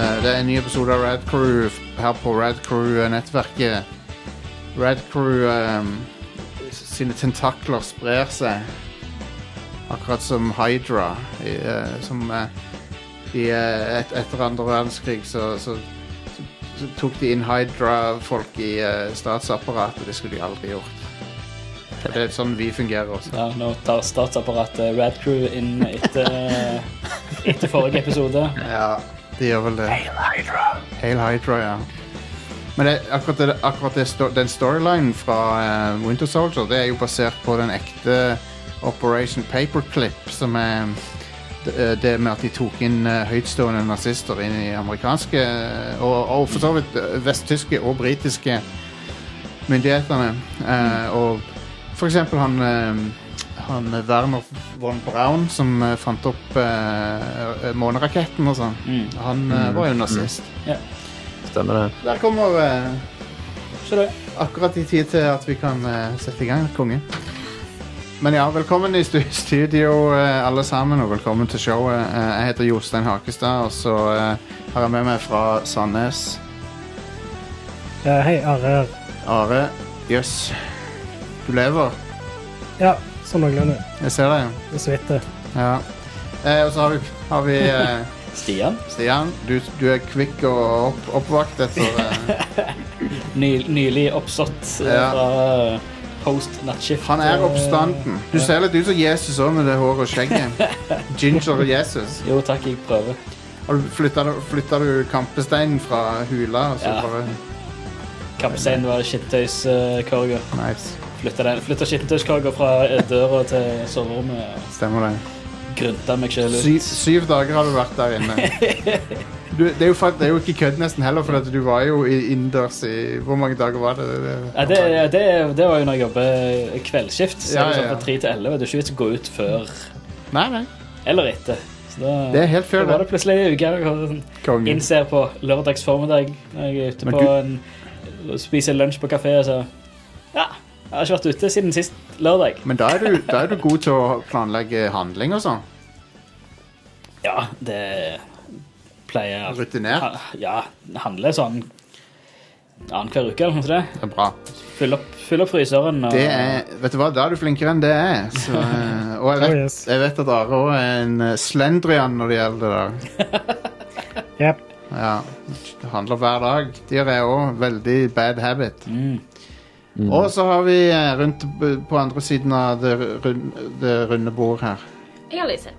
Eh, episode av Rad Crew f- her på Rad Crew-nettverket. Rad Crew um, sine tentakler sprer seg. Akkurat som Hydra. I, eh, som eh, i, eh, et, etter andre verdenskrig så, så, så, så tok de inn Hydra-folk i eh, statsapparatet. Det skulle de aldri gjort. Og det er sånn vi fungerer også. Ja, nå tar statsapparatet Rad Crew inn etter, etter forrige episode. Ja, det gjør vel det. Hail Hydra. Hail Hydra, ja. Men det, akkurat, det, akkurat det, sto- den storylinen fra eh, Winter Soldier det er jo basert på den ekte Operation Paperclip, som er d- eh, det med at de tok inn eh, høytstående nazister inn i amerikanske eh, og, og for så vidt eh, vesttyske og britiske myndighetene. Eh, Og for eksempel han, eh, han Werner von Braun, som eh, fant opp eh, måneraketten og sånn, Mm. han eh, var jo nazist. Stemmer det. Der kommer eh, Så det. akkurat i tid til at vi kan eh, sette i gang, konge. Men ja, velkommen i stu- studio, eh, alle sammen, og velkommen til showet. Eh, jeg heter Jostein Hakestad, og så eh, har jeg med meg fra Sandnes Ja, Eh, hei, Are her. Are. Jøss. Du lever. Ja, sånn noenlunde. Jeg ser deg. Det svitter. Ja. Eh, og så har vi, har vi eh, Stian. Stian. Du, du er kvikk og opp, oppvakt etter eh, Ny, nylig oppstått eh, Ja. fra eh, post nattskift. Han er oppstanden. Du ser litt ut som Jesus òg med det håret og skjegget. Ginger Jesus. Jo takk, jeg prøver. Har du flytta, flytta du kampesteinen fra hula? og Så Ja. bare, Kappstein var skittøyskorga. nice. Flytta den- flytta skittøyskorga fra eh, døra til soverommet og Stemmer det. grynta meg sjøl ut. Syv, syv dager har du vært der inne. Du, det, er jo, fakt- det er jo ikke kødd nesten heller, for at du var jo i- innendørs i Hvor mange dager var det? Ja, det, det, det var jo når jeg jobber kveldsskift. Så Ja, er det ja, sånn ja. fra 3 til 11. Det er ikke vits å gå ut før Nei, nei. eller etter. Så da, Det er helt fair, da var det. det plutselig en uke. og sånn, Kongen. Innser på lørdags formiddag når jeg er ute Mm. Men på du- en og Spiser lunsj på kafé og så Ja, jeg har ikke vært ute siden sist lørdag. Men da er, du, da er du god til å planlegge handling og sånn. Ja, det pleier jeg alltid- Rutinert. Ha- Ja, handler sånn annenhver uke eller noe sånt. Det er bra. Fyll opp, fyll opp fryseren og Det Ah. er, vet du hva, Da er du flinkere enn det jeg er. Så, eh, og jeg Oh, vet, yes. jeg vet at Are òg er en eh, slendrian når det gjelder det. der. Jep. Ja, det handler hver dag. De er òg veldig bad habit. Mm. Og så har vi eh, rundt b- på andre siden av det, rund, det runde bord her. Jeg har lyset.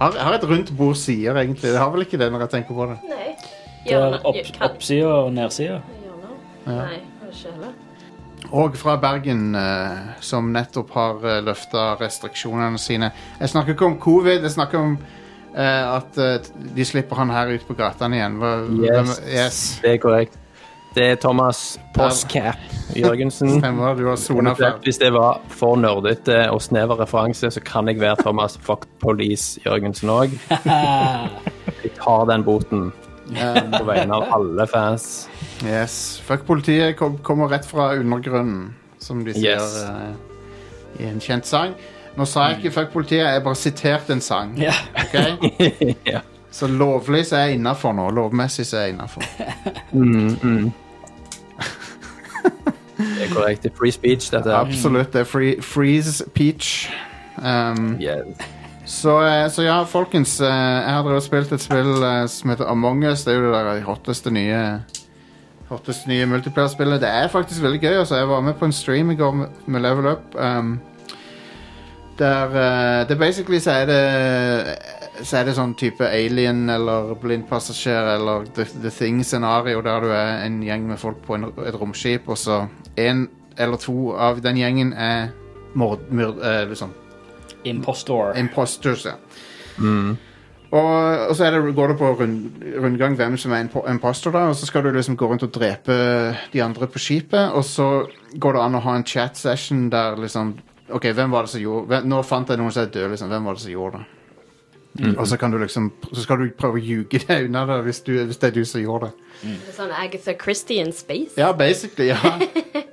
Har, har et rundt bord sider, egentlig? Det har vel ikke det når jeg tenker på det. Nei. Det er Hjørne- opp, kan- oppsida og nedsida. Hjørne? Ja. Nei, har det ikke heller. Og fra Bergen, eh, som nettopp har uh, løfta restriksjonene sine. Jeg snakker ikke om covid, jeg snakker om eh, at eh, de slipper han her ut på gatene igjen. Hva- Yes. hvem- yes. Det er korrekt. Det er Thomas Poscap Jørgensen. Stemmer, du har sona ferdig. Hvis det var for nerdete og snever referanse, så kan jeg være Thomas Fuck Police Jørgensen òg. Jeg tar den boten på vegne av alle fans. Yes. Fuck politiet kom, kommer rett fra undergrunnen, som de sier Yes. eh, i en kjent sang. Nå sa jeg ikke fuck politiet, jeg bare siterte en sang. Ja. ok? Ja. Så lovlig så er jeg innafor nå. Lovmessig så er jeg innafor. Mm, mm. Det er korrekt. Det er free speech, dette. her. Absolutt. Det er free, freeze peach. Um, Yeah. så, eh, så ja, folkens. eh, Jeg har drevet og spilt et spill eh, som heter Among us. Det er jo det der hotteste nye Hotteste nye multiplayer-spillet. Det er faktisk veldig gøy. Altså. Jeg var med på en stream i går med- med Level Up. Um, der eh, det basically så er det Så er det sånn type alien eller blindpassasjer eller The, the Thing-scenario der du er en gjeng med folk på en, et romskip, og så en eller to av den gjengen er mord... mord eh, liksom Impostor. Imposters, ja. Mm. Og, og så er det, går det på rund, rundgang hvem som er impo- imposter, da, og så skal du liksom gå rundt og drepe de andre på skipet. Og så går det an å ha en chat session der liksom OK, hvem var det som gjorde hvem, Nå fant jeg noen som er død, liksom. Hvem var det som gjorde det? Og så kan du liksom Så skal du prøve å ljuge deg unna det hvis, du, hvis det er du som gjorde det. Det er Sånn Agatha Christie in space. Ja, basically, ja.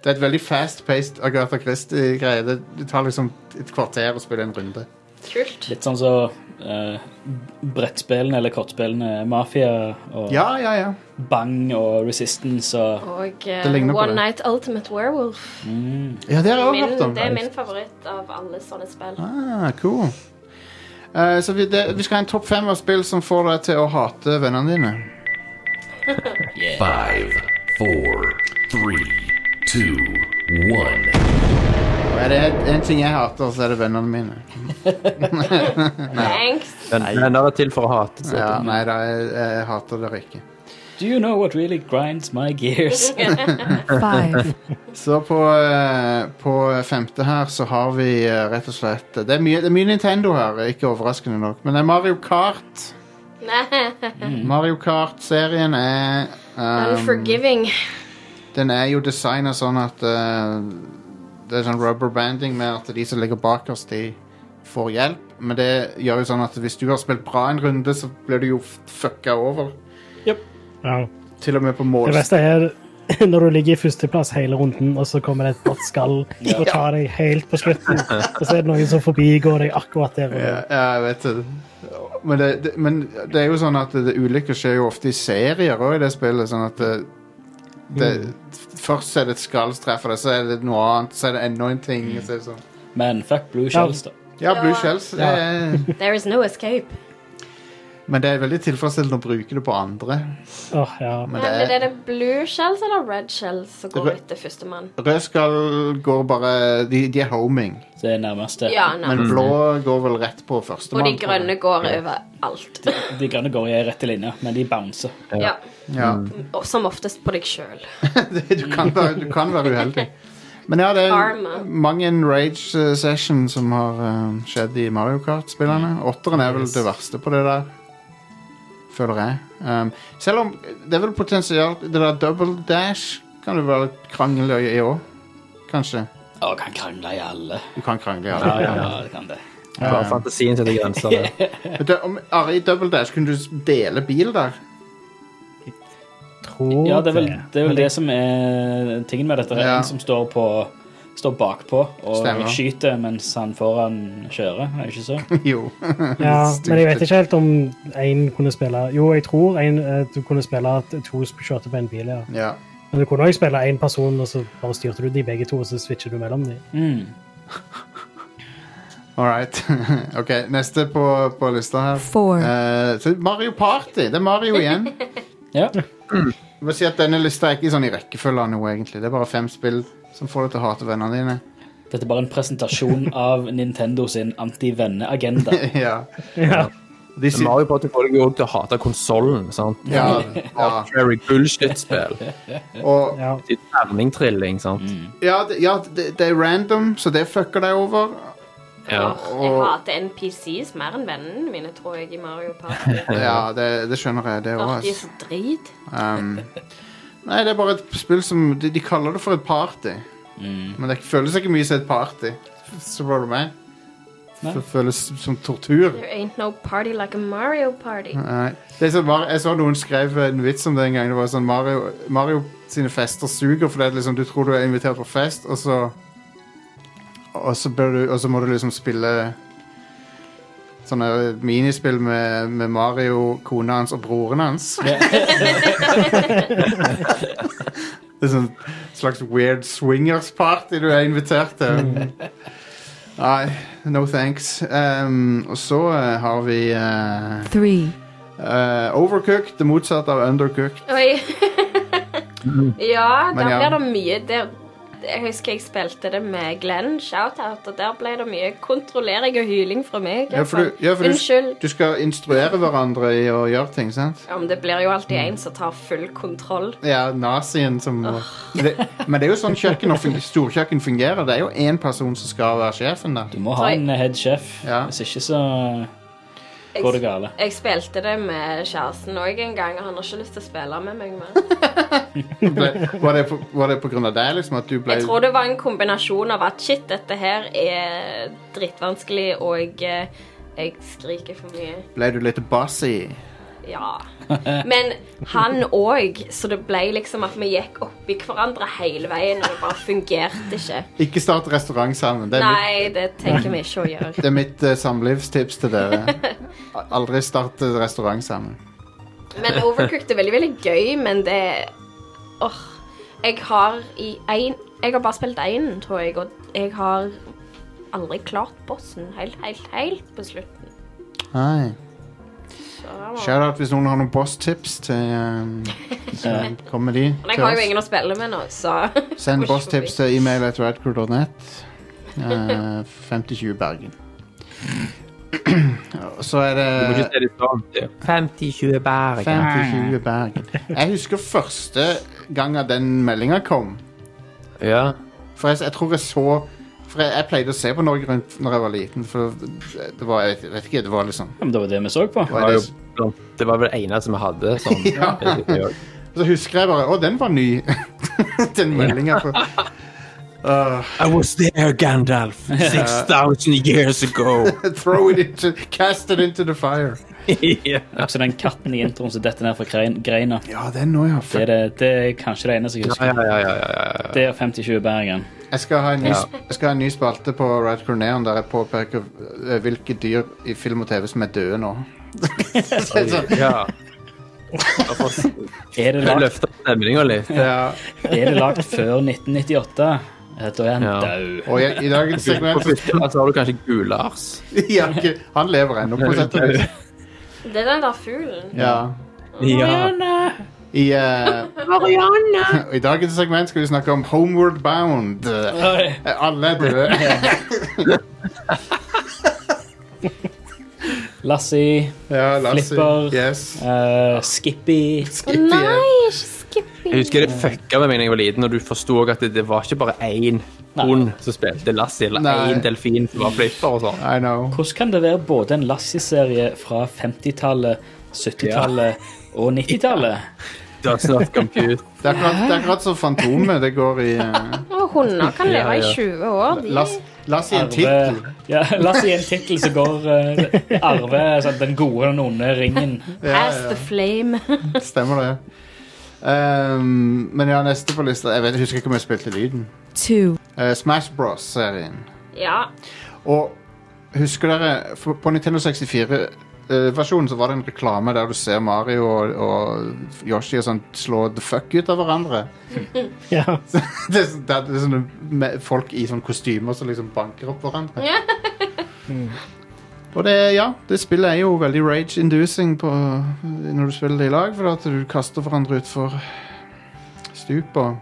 Det er et veldig fast-paced Agatha Christie-greie. Det, det tar liksom et kvarter å spille en runde. Kult. Litt sånn som eh, brettspillene eller kortspillene Mafia og Ja, ja, ja. Bang og Resistance og Og Det eh, ligner på One det. Night Ultimate Werewolf. Ja, Det har jeg også Min, hørt om. det er min favoritt av alle sånne spill. Ah, cool. Eh, så vi, det, vi skal ha en topp fem av spill som får deg til å hate vennene dine. Five, four, three, two, one. Og er det en- en ting jeg hater, så er det vennene mine. Thanks. Men venner er til for å hate. Så. Ja, nei da, jeg, jeg hater dere ikke. Do you know what really grinds my gears? Five, Så på, eh, på femte her så har vi eh, rett og slett Det er mye, det er mye Nintendo her, ikke overraskende nok. Men det er Mario Kart. Mario Kart-serien er um, Unforgiving. Den er jo designa sånn at eh, Det er sånn rubber banding med at de som ligger bakerst, de får hjelp. Men det gjør jo sånn at hvis du har spilt bra en runde, så blir du jo f- fucka over. Ja. Til og med på Det mål. beste er når du ligger i førsteplass hele runden, og så kommer det et bort skall og tar deg helt på slutten. Og så er det noen som forbigår deg akkurat der. og Ja, da. ja, jeg vet det. Men det, det. Men det er jo sånn at det, ulykker skjer jo ofte i serier òg i det spillet. Sånn at det, det, Først er det et skall som treffer deg, så er det noe annet, så er det enda en ting. og Så er det sånn. Men fuck Blue Shells, da. Ja, Blue Shells. det er- There is no escape. Men det er veldig tilfredsstillende å bruke det på andre. Åh, ja. Men Men det er, er det blue shells eller red shells som går Det- etter førstemann? Rødskall går bare De, de er homing. Det er nærmeste. Ja, Men nærmest. blå går vel rett på Og førstemann. tror de jeg. grønne går overalt. De grønne går i ei rette linje, men de bouncer. Ja. Ja. Og Som oftest på deg sjøl. Det- du, kan være, du kan være uheldig. Men ja, det Karma. er mange en rage eh, session som har eh, skjedd i Mario Kart-spillene. Åtteren er vel det verste på det der, føler jeg. Um, selv om det er vel potensielt Det der double dash kan det være litt krangel i òg, kanskje. Å, kan krangle i alle. Du kan krangle, ja. Ja, det kan det. Bare fantasien setter grenser. der. Men det- om- Ari, i double dash kunne du s- dele bil der. Tror Ja, det er vel det, er Men vel det som er tingen med dette. Det er Ja. En som står på Står bakpå og Stemmer. skyter mens han foran kjører, er det ikke så? jo. Ja, men jeg vet ikke helt om én kunne spille Jo, jeg tror en, eh, du kunne spille at to kjørte på en bil, ja. Ja. Men du kunne òg spille én person, og så bare styrte du de begge to, og så switcher du mellom de. Mm. All right. ok, neste på, på lista her. four, Eh, så Mario Party. Det er Mario igjen. Ja. Jeg må si at Denne lista er ikke sånn i rekkefølge av noe, egentlig. Det er bare fem spill som får deg til å hate vennene dine. Dette er bare en presentasjon av Nintendo sin anti-venneagenda. ja. Ja. De Men sy- Mario Party får deg jo også til å hate konsollen. sant? ja, ja. Very bullshit-spill. Og, ja. Det er Terningtrilling, sant. ja, det, ja det, det er random, så det fucker deg over. Ja. Jeg hater NPCs mer enn vennene mine, tror jeg, i Mario Party. Ja, det, det skjønner jeg, det At de er òg. så drit. Um, nei, det er bare et spill som De, de kaller det for et party, men det føles ikke mye som et party. Spør du meg. Det føles som tortur. There ain't no party like a Mario Party. Nei. Det er sånn, Mar- jeg så noen skrev en vits om det en gang. Det var sånn Mario, Mario sine fester suger, for det er liksom, du tror du er invitert på fest, og så Og så, bør du, og så må du liksom spille sånne minispill med, med Mario, kona hans og broren hans. det er sånn slags weird swingers-party du er invitert til. Nei, no thanks. Um, og så eh, har vi eh, three, Eh, overcooked, det motsatte av undercooked. Oi. ja, Men der ja. blir det mye der, Jeg husker jeg spilte det med Glenn, shoutout, og der ble det mye kontrollering og hyling fra meg. Ja, for du, altså. ja, for du, Unnskyld. du skal instruere hverandre i å gjøre ting, sant? Ja, men det blir jo alltid en som tar full kontroll. Ja, nazien som må men, det, men det er jo sånn kjøkken og fun- storkjøkken fungerer. Det er jo én person som skal være sjefen der. Du må ha en head chef, Ja. hvis ikke så går det gale. Jeg spilte det med kjæresten òg en gang, og han har ikke lyst til å spille med meg mer. Ble, var, det på, var det på grunn av deg, liksom, at du ble Jeg tror det var en kombinasjon av at shit, dette her er drittvanskelig, og eh, jeg skriker for mye. Ble du litt bossy? Ja. Men han òg, så det ble liksom at vi gikk oppi hverandre hele veien, og det bare fungerte ikke. Ikke start restaurant sammen. Det er mitt, Nei, det tenker vi ikke å gjøre. det er mitt eh, samlivstips til dere. Aldri start eh, restaurant sammen. Men Overcooked er veldig, veldig gøy, men det Åh. Jeg har i én Jeg har bare spilt én, tror jeg, og jeg har aldri klart bossen helt, helt, helt på slutten. Nei. Så da må- Shout-out hvis noen har noen boss-tips til eh, Så kommer de Men jeg til har jo oss. ingen å spille med nå, så Send Må ikke boss-tips til email at radcrew.net. Eh, 5020 Bergen. Og Så er det Du må ikke se det sånn. Det er 50-20 Bergen. 5020 Bergen. Jeg husker første gang at den meldinga kom. Ja. For jeg, jeg tror jeg så For jeg, jeg pleide å se på Norge Rundt når jeg var liten. For det var, jeg vet, vet ikke, det var liksom Ja, men det var det vi så på. var Det var, det, jo, blant- det var vel det eneste vi hadde sånn. Ja. basically, og- Så husker jeg bare Å, den var ny! den meldinga. I was there, Gandalf, 6000 years ago. Throw it into Cast it into the fire. ja. Så den katten i introen som detter ned fra grein- greina, Ja, den nå, ja. det er, Fuck. det, det er kanskje det eneste jeg Ja, husker. ja, ja, ja, ja. Det er 50-20 Bergen. Jeg skal ha en ny, Ja. jeg skal ha en ny spalte på Rad Corneon der jeg påpeker eh, hvilke dyr i film og TV som er døde nå. Så- så- ja. Da får s- Er det Jeg lagt, løfter stemninga litt. ja. er det lagt før 1998? Eh, Da er han Ja. død. Og i, i dagens segment På førsteplass har du kanskje Gul-Lars. ja, ikke- Han lever ennå, på sett og vis. Det er den der fuglen. Ja. Ja. I, eh, I dagens segment skal vi snakke om Homeward Bound. Eh, Oi. Alle er døde. Lassie, Ja, Lassie. Flipper. Yes. eh, Skippy Å Skippy, nei, eh. ikke Skippy. Jeg husker det fucka med meg da jeg var liten, og du forsto at det, det var ikke bare én hund som spilte Lassie, eller Nei. én delfin som var flipper og sånn. I know. Hvordan kan det være både en Lassie-serie fra 50-tallet, 70-tallet og 90-tallet? Does not compute. Det er akkurat, det er akkurat som Fantomet. Det går i eh, Og hunder kan leve Ja, ja. i 20 år. De. Lass, Lass i en tittel. Arve- Ja, Lassie er en tittel som går eh, arve sånn, den gode og den onde ringen. Ja, As the flame. Stemmer det. Ehm, men ja, neste på lista Jeg, vet, jeg husker ikke om jeg spilte lyden. two, Eh, Smash Bros-serien. ja. Og husker dere for, På Nintendo 64-versjonen så var det en reklame der du ser Mario og, og Yoshi og sånn slå the fuck ut av hverandre. Ja. Det er, sånn- det er sånne me- folk i sånne kostymer som liksom banker opp hverandre. Og det, ja, det spillet er jo veldig rage-inducing på- når du spiller det i lag, for at du kaster hverandre utfor stup og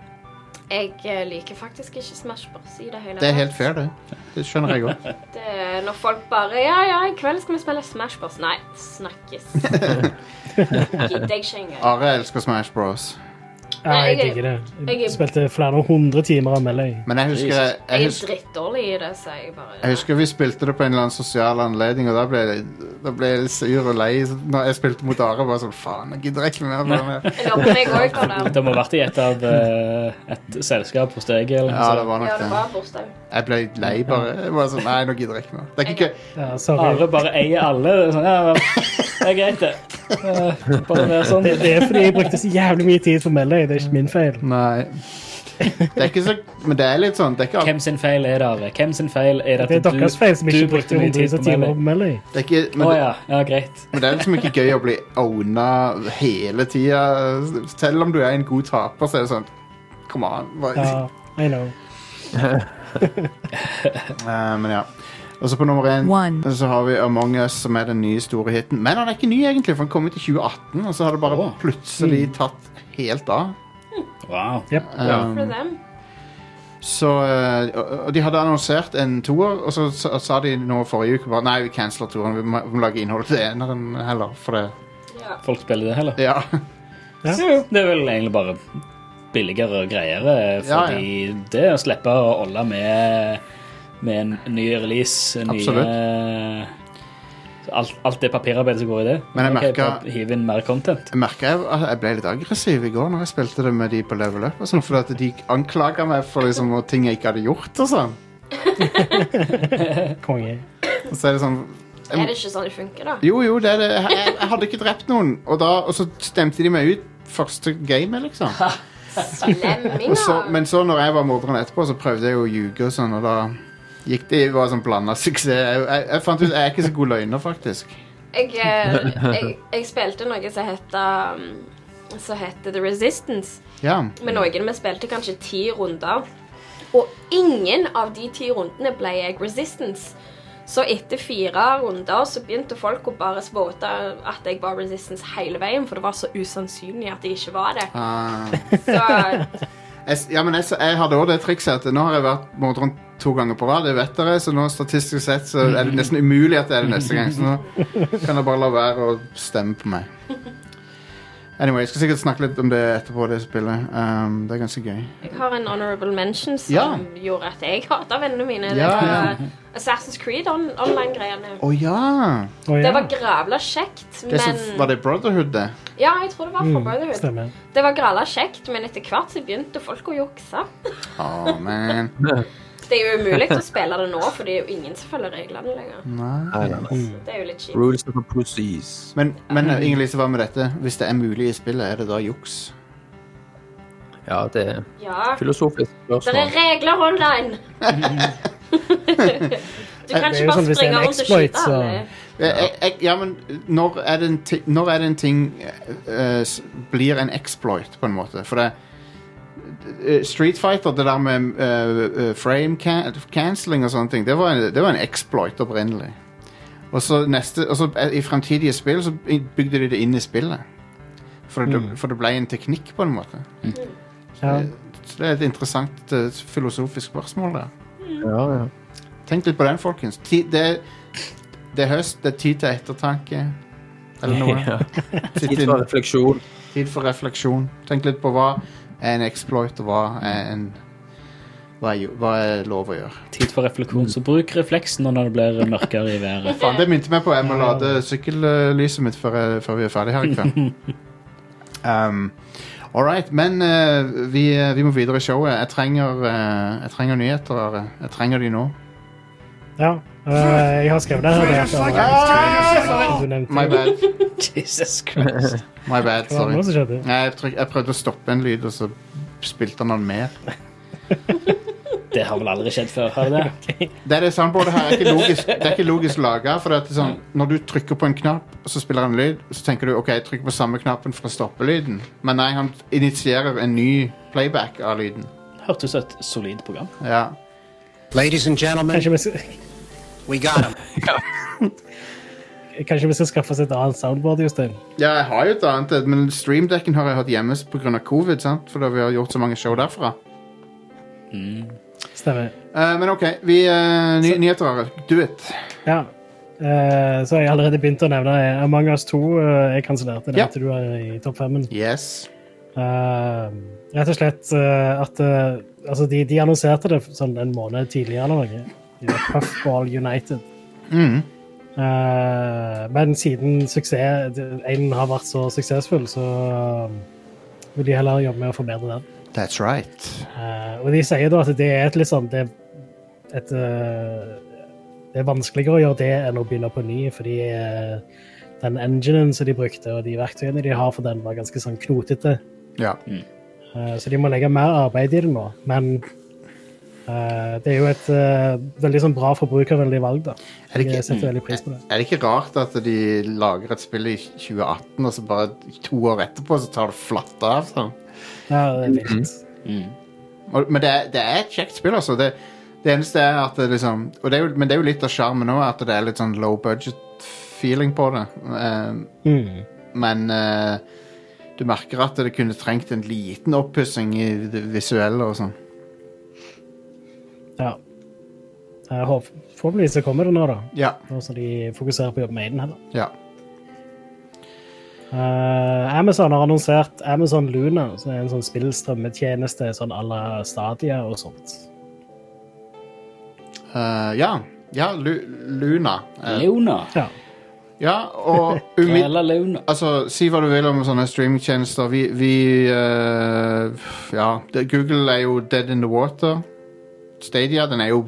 Jeg eh, liker faktisk ikke Smash Bros. i det hele Det er helt fair, det. Det skjønner jeg godt. Det er når folk bare Ja, ja, i kveld skal vi spille Smash Bros. Nei, snakkes. Gidder jeg ikke engang. Are elsker Smash Bros. ja, jeg digger det. Jeg Jeg er- spilte flere hundre timer av Melee. Men jeg husker, jeg, Jeg er husker, drittdårlig i det, så jeg bare jeg husker vi spilte det på en eller annen sosial anledning, og da ble, jeg- da ble jeg litt sur og lei så når jeg spilte mot Are. Bare sånn, faen, jeg gidder ikke mer. Bare mer. Jeg lover meg òg for det. Det må ha vært i et av eh, et selskap hos deg. Eller, Ja, det noe sånt. var Ja, nok det det. var bursdag. Jeg ble lei, bare. Jeg var sånn, Nei, nå gidder jeg ikke mer. Det er ikke gøy. Ja, sorry. Arve bare eier alle. Det er Sånn, ja, vel, det er greit, det. Eh, Bare være sånn. Det, det er fordi jeg brukte så jævlig mye tid på Melee. Det er ikke min feil. Nei. Det er ikke så Men det er litt sånn Det er ikke, alt- Hvem sin feil er det, Arve? Hvem sin feil er det Det er at deres feil som du ikke brukte mye tid hundrevis av på timer Melee? på Melee. det er ikke men, Å det, ja. ja, greit. men det er liksom ikke gøy å bli owna hele tida. Selv om du er en god taper, så er det sånn Come on. Bare, Ja, I know. Eh, men ja. Og så på nummer én one, så har vi Among Us, som er den nye store hiten. Men han er ikke ny, egentlig, for han kom ut i 2018, og så har det bare Åh. plutselig tatt helt av. Wow. For Um, dem. så eh, og- Og de hadde annonsert en toer, og så sa- sa de nå forrige uke bare Nei, vi canceler toeren. Vi må, vi må lage innhold til eneren heller, for det Ja. Folk spiller det heller? Ja. Ja. Så jo, det er vel egentlig bare billigere og greiere, eh, Ja, ja. fordi det å slippe å holde med, med en ny release, nye Så Alt, alt det papirarbeidet som går i det. Men jeg Ok, merker- bare Hive inn mer content. Jeg merka jeg, at jeg ble litt aggressiv i går når jeg spilte det med de på level up. Og sånn, fordi at de anklaga meg for liksom, og ting jeg ikke hadde gjort. og sånn. Konge. Og så er det sånn Er det ikke sånn det funker, da? Jo, jo, det er det. Jeg, jeg- jeg hadde ikke drept noen, og, da, og så stemte de meg ut første gamet, liksom. Og så, Slemminger. men så når jeg var morderen etterpå, så prøvde jeg jo å ljuge og sånn, og da gikk det var sånn blanda suksess. Jeg, jeg, jeg fant ut jeg er ikke så god løgner, faktisk. Jeg, eh, jeg, jeg spilte noe som het um, Som het The Resistance. Ja. Med noen vi spilte kanskje ti runder. Og ingen av de ti rundene ble jeg Resistance. Så etter fire runder så begynte folk å bare spåte at jeg var Resistance hele veien, for det var så usannsynlig at jeg ikke var det. Ah. Så eh, jeg, s- ja, men jeg, s- jeg hadde også det trikset at nå har jeg vært morderen to ganger på rad, det vet dere, så nå statistisk sett så er det nesten umulig at det er det neste gang, så nå kan jeg bare la være å stemme på meg. Anyway, jeg skal sikkert snakke litt om det etterpå, det spillet. Um, det er ganske gøy. jeg har en honorable mention som Ja. gjorde at jeg hata vennene mine. Ja, det var ja. Assassin's Creed on online-greiene. Å ja! Å, ja. Det var gravla kjekt, Det som, men var det Brotherhood, det? Ja, jeg tror det var for mm, Brotherhood. Stemmer. Det var gravla kjekt, men etter hvert så begynte folk å jukse. Å, man. Det er jo umulig å spille det nå, for det er jo ingen som følger reglene lenger. Nei. Nei, nei, nei. Mm. Det er jo litt kjipt. Rules of procedures. Men, men Inger-Lise, hva med dette? Hvis det er mulig i spillet, er det da juks? Ja, det er Ja. filosofisk Det er spørsmål. regler online! Du kan Det ikke er jo sånn bare hvis det er en springe rundt og exploit, skyte så- alle. Jeg, jeg- jeg, ja, men når er det en, ti, når er det en ting eh, s- blir en exploit, på en måte? For det eh, Street Fighter, det der med eh, eh, frame can cancelling og sånne ting, det var, en, det var en exploit opprinnelig. Og så neste, og så eh, i fremtidige spill så bygde de det inn i spillet. For det, for det ble en teknikk, på en måte. Ja. Så det er et interessant eh, filosofisk spørsmål der. Ja, ja. Tenk litt på den, folkens. Ti, det, det er høst, det er tid til ettertanke. Eller noe. Ja. Sitt Tid for inn- sånn refleksjon. Tid for refleksjon. Tenk litt på hva er en exploit, og hva er en hva er, jo- hva er lov å gjøre. Tid for refleksjon, så bruk refleksen når det blir mørkere i været. Faen, det minte meg på. Jeg må lade sykkellyset mitt før, jeg, før vi er ferdig her i kveld. Um, All right, men eh, vi, vi må videre i showet. Jeg trenger, eh, jeg trenger nyheter. Are. Jeg trenger de nå. ja. Eh, jeg har skrevet det her. Det er for- du nevnte My det. bad. Jesus Christ. My bad, Hva var det sorry. nå som skjedde? Nei, jeg, tryk, jeg prøvde å stoppe en lyd, og så spilte han den mer. Det har vel aldri skjedd før, har det det? Det, er det soundboardet her er ikke logisk, det er ikke logisk laga. For det er sånn, når du trykker på en knapp, og så spiller han lyd, så tenker du OK, jeg trykker på samme knappen for å stoppe lyden. Men nei, han initierer en ny playback av lyden. Hørtes ut som et solid program. Ja. Ladies and gentlemen, Kanskje vi skal, we got him. kanskje vi skal skaffe oss et annet soundboard, Jostein? ja, jeg har jo et annet et, men streamdekken har jeg hatt hjemme pga. covid, sant? fordi vi har gjort så mange show derfra. Stemmer. Eh, men OK, vi eh, ny, nyheter, Are. Do it. Ja. Eh, så har jeg allerede begynt å nevne eh, Among us 2. eh, jeg kansellerte det Ja. etter du var i topp femmen. Yes. Eh, rett og slett eh, at eh, Altså, de, de annonserte det sånn en måned tidligere eller noe. De var Puffball United. Mm. Eh, men siden suksess én har vært så suksessfull, så eh, vil de heller jobbe med å forbedre den. That's right. Eh, og de sier da at det er et litt sånn det, er et, eh, det er vanskeligere å gjøre det enn å begynne på ny, fordi eh, den enginen som de brukte, og de verktøyene de har for den, var ganske sånn knotete. Ja. Eh, så de må legge mer arbeid i det nå. Men eh, det er jo et eh, veldig sånn bra forbrukervennlig valg, da. Er det ikke- Jeg setter veldig pris på det. Er det ikke rart at de lager et spill i 2018, og så bare to år etterpå så tar det flatt av? sånn? Ja, det er vilt. Og, men det er, det er et kjekt spill, altså. Det, det eneste er at det liksom og det er jo, Men det er jo litt av sjarmen òg, at det er litt sånn low budget-feeling på det. Eh, Mm. men eh, du merker at det kunne trengt en liten oppussing i det visuelle og sånn. Ja. Jeg håper, forhåpentligvis så kommer det nå, da. Ja. Nå som de fokuserer på å jobbe med den heller. ja. Eh, Amazon har annonsert Amazon Luna, som er en sånn spillstrømmetjeneste sånn à la Stadia og sånt. Eh, ja. Ja, Lu Luna. Eh, Luna. Ja. ja, og umid Eller Luna. Altså, Si hva du vil om sånne streamingtjenester. Vi, vi eh, Ja, det, Google er jo dead in the water. Stadia, den er jo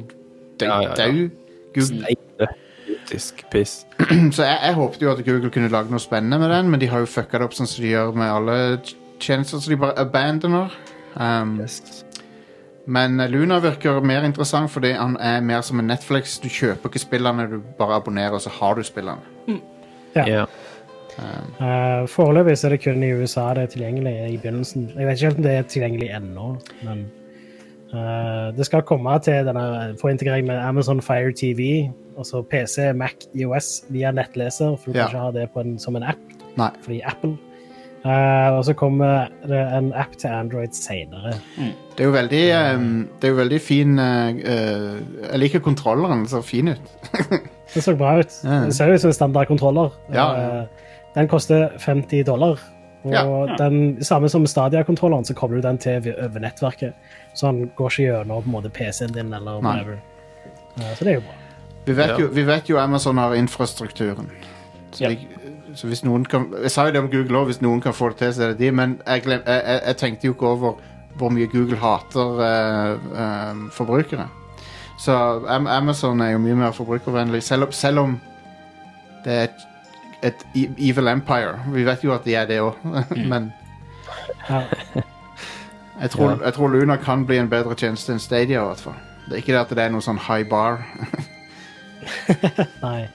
dau. Ja, ja, ja. dau. Google, Nei, det- idiotisk piss. Så jeg, jeg håpte jo at Google kunne lage noe spennende med den, men de har jo fucka det opp sånn som de gjør med alle tj- tjenester, så de bare abandoner. Mm. Um, Men eh, Luna virker mer interessant fordi han er mer som en Netflix. Du kjøper ikke spillene, du bare abonnerer, og så har du spillene. Ja. Eh, foreløpig så er det kun i USA det er tilgjengelig i begynnelsen. Jeg vet ikke helt om det er tilgjengelig ennå, men eh, det skal komme til denne få integrering med Amazon Fire TV, altså PC, Mac, IOS via nettleser, for du Ja. kan ikke ha det på en, som en app, Nei. fordi Apple. Eh, og så kommer det en app til Android senere. Det er jo veldig, um, det er jo veldig fin uh, uh, Jeg liker kontrolleren. Den ser fin ut. Det så bra ut. Ja. Det ser ut som en standardkontroller. Ja, ja. Eh, Den koster 50 dollar. Og Ja. den samme som Stadia-kontrolleren, så kobler du den til vi- over nettverket. Så han går ikke gjennom på en måte, PC-en din eller whatever. Eh, Så det er jo bra. Vi vet, Ja. jo, vi vet jo Amazon har infrastrukturen. Så, Ja. de, så hvis noen kan Jeg sa jo det om Google òg, hvis noen kan få det til, så er det de. Men jeg, glem, jeg, jeg, jeg tenkte jo ikke over hvor mye Google hater eh, eh, forbrukere. Så Am Amazon er jo mye mer forbrukervennlig, selv, om- selv om det er et, et e- evil empire. Vi vet jo at de er det òg, men Ja. jeg tror, jeg tror Luna kan bli en bedre tjeneste enn Stadia. i hvert fall. Det er ikke det at det er noen sånn high bar. Nei.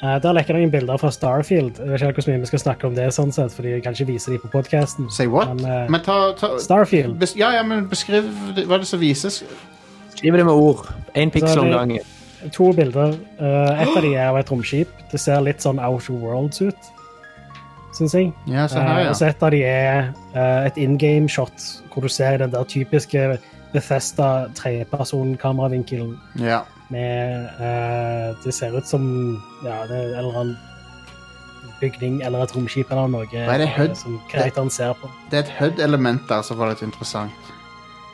Eh, Der lekker noen bilder fra Starfield. Jeg vet ikke helt hvor mye vi skal snakke om det, sånn sett, fordi jeg kan ikke vise dem på podkasten. Say what? Men, Men, eh, ta, ta Starfield. Bes ja, ja, men beskriv det- hva det som vises. Skriv det med ord. Én Så piksel er om det- gangen. To bilder. Eh, et av de er av et romskip. Det ser litt sånn Outer Worlds ut, syns jeg. Ja, se Altså, her, Eh, ja. og så et av de er eh, et in game shot, hvor du ser den der typiske Bethesda trepersonkameravinkelen ja. med eh, Det ser ut som ja, det er en eller annen bygning eller et romskip eller noe er det, eh, HUD? som kreiteren ser på. Det er et HUD-element der som var litt interessant.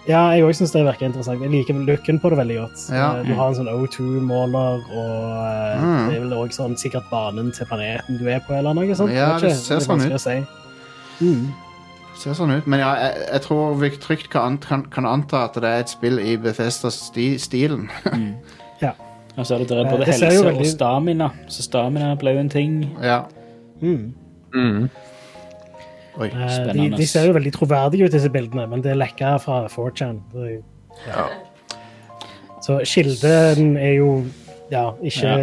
Ja, jeg òg syns det virker interessant. Jeg liker looken på det veldig godt. Ja. Eh, Du har en sånn O2-måler, og eh, Mm. det er vel òg sånn sikkert banen til planeten du er på, eller noe sånt. Ja, Jeg vet det ikke. ser er sånn ut. vanskelig å Si. Ser sånn ut. Men ja, jeg, jeg tror vi trygt kan, ant- kan, kan anta at det er et spill i Bethesda-stilen. Og så er det, der er både Det ser helse jo og veldig- stamina. Så stamina ble jo en ting. ja. Mm. Mm. Oi. Eh, De, Spennende. de ser jo veldig troverdige ut, disse bildene, men det er lekka fra 4chan. Det er jo- Så kilden er jo ja, ikke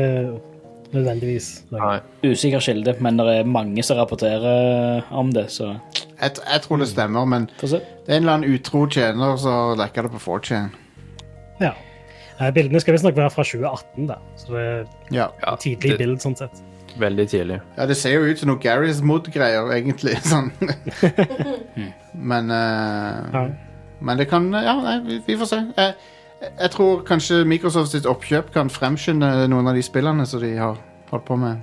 nødvendigvis noe. Nei. Usikker kilde, men det er mange som rapporterer om det, så Jeg, t- jeg tror det stemmer, men få se. det er en eller annen utro tjener som lekker det på 4chan. Ja. Eh, Bildene skal visstnok være fra 2018, da. så det er Ja. Ja, tidlig det, bild sånn sett. veldig tidlig. ja, det ser jo ut som noe Garys Mod-greier, egentlig. Sånn. men eh, Ja. Men det kan Ja, nei, vi, vi får se. Jeg, jeg tror kanskje Microsoft sitt oppkjøp kan fremskynde noen av de spillene som de har holdt på med.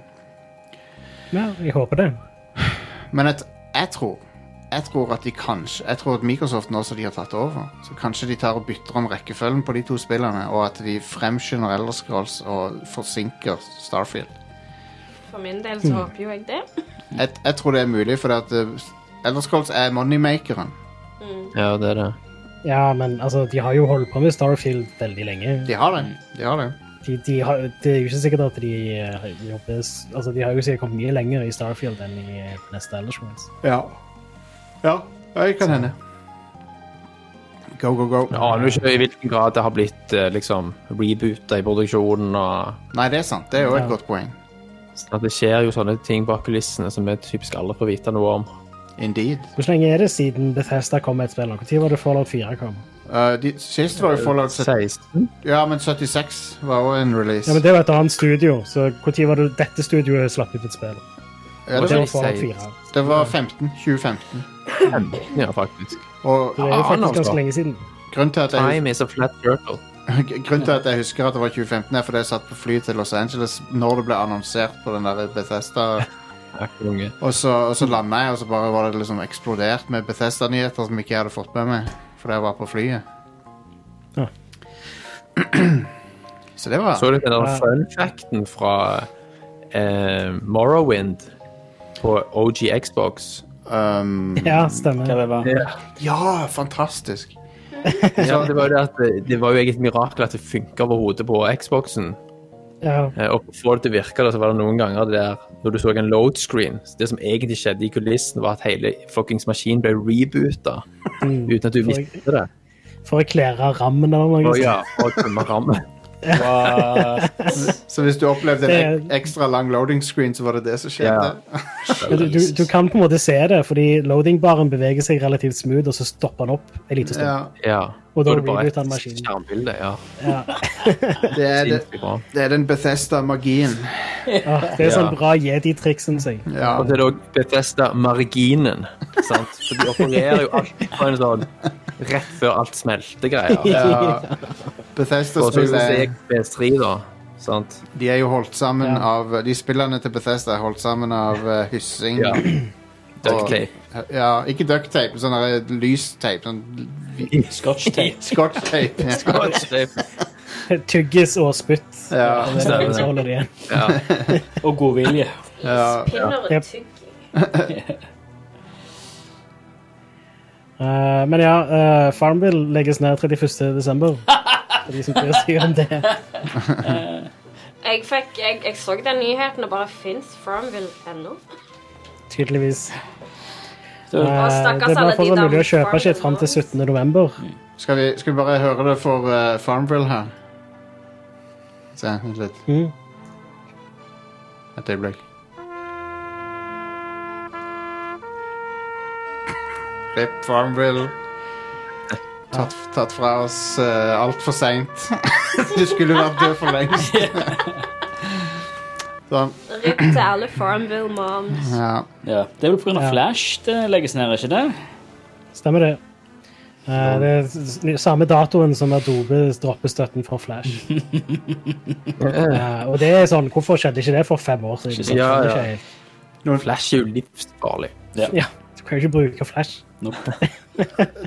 ja, jeg håper det. Men jeg, jeg tror Jeg tror at de kanskje Jeg tror at Microsoft nå som de har tatt over, så kanskje de tar og bytter om rekkefølgen på de to spillene, og at de fremskynder Elder Scrolls og forsinker Starfield. For min del Mm. så håper jo jeg det. Jeg, jeg tror det er mulig, for at eh, Elder Scrolls er moneymakeren. Ja, det er det. Ja, men altså, de har jo holdt på med Starfield veldig lenge. De har Mm. det. De har det. De, de har, det er jo ikke sikkert at de eh, jobber s- Altså, de har jo sikkert kommet mye lenger i Starfield enn i eh, neste Ellers Worlds. Ja. Ja, det kan hende. Go, go, go. Jeg aner jo ikke i hvilken grad det har blitt eh, liksom reboota i produksjonen og Nei, det er sant. Det er jo et Ja. godt poeng. sånn at Det skjer jo sånne ting bak kulissene som vi typisk aldri får vite noe om. Indeed. Hvor lenge er det siden Bethesda kom med et spill? Når var det Fallout 4 kom? Uh, de, sist var jo Fallout 70, 16? Ja, men 76 var også en release. Ja, men Det var et annet studio, så når var det dette studioet slapp ut et spill? Ja, Og det, det var, var Fallout 4. det var 15. 2015. Ja, faktisk. Og ah, Det er jo Faen, faktisk altså. ganske lenge siden. grunnen til, at jeg, Time is a flat circle. grunnen til at jeg husker at det var 2015, er fordi jeg satt på fly til Los Angeles når det ble annonsert på den der Bethesda. Er ikke unge. Og så, og så landa jeg, og så bare var det liksom eksplodert med Bethesda-nyheter som ikke jeg hadde fått med meg fordi jeg var på flyet. Ja. Så det var Så du den der fun facten fra eh, Morrowind på OG Xbox? um, Ja, stemmer. Hva det var. Ja, fantastisk. eh, Ja, det var jo det at det, det var jo egentlig et mirakel at det funka over hodet på Xboxen. Ja. Eh, Og for å få det til å virke, da, så var det noen ganger det der, når du så en load screen så Det som egentlig skjedde i kulissen, var at hele fuckings maskinen ble reboota uten at du For- visste det. For å klære rammen eller noe. Og ja, og tømme rammen. What? Så hvis du opplevde en Det- ek ekstra lang loading screen, så var det det som skjedde? Men Du, du, du kan på en måte se det, fordi loadingbaren beveger seg relativt smooth, og så stopper han opp en liten stund. Ja. Ja. Og da er det bare rebooter han et maskinen. Skjermbilde, ja. Det, er det, Sinnssykt bra. det er den Bethesda-magien. Ah, det er sånn Ja. bra jedi-triks, syns jeg. Ja. Og så er det òg Bethesda-marginen. sant? Så de opererer jo alltid på en sånn rett før alt smelter-greier. Ja. Og så synes jeg Bethesda-spillet PS3, da. Sant? De er jo holdt sammen Ja. av De spillene til Bethesda er holdt sammen av eh, hyssing Ja. og- Ducktape. Ja, ikke ducktape, sånn der lystape. Sånn Scotch tape. scotchtape. Ja. Ducktape. Tyggis og spytt. Ja. Det er det Stemmer. som holder det igjen. Ja. Og god vilje. Ja. Pinner og Yep. tygg. Eh, men ja, eh, Farmville legges ned 31. desember. For de som bryr seg om det. Jeg, fikk, jeg, jeg så den nyheten og bare Fins Farmville ennå? Tydeligvis. Du, Eh, det er bare for å være mulig å kjøpe shit fram til 17. november. Mm. Skal, vi, skal vi bare høre det for eh, Farmville her? Se, vent litt. Mm. Mhm. Et øyeblikk. Rip Farmville. Tatt, tatt fra oss uh, altfor seint. du skulle vært død for lengst. sånn. Rypp til alle Farmville moms. Ja. Ja. Det er vel pga. Ja. av Flash det legges ned, er ikke det? Stemmer det. Eh, det er s- s- samme datoen som Adobe dropper støtten for Flash. Mm. Eh, og det er sånn, hvorfor skjedde ikke det for fem år siden? sant? Ja, Det ja. skjer ikke. Flash er jo livsfarlig. ja. Du kan jo ikke bruke Flash.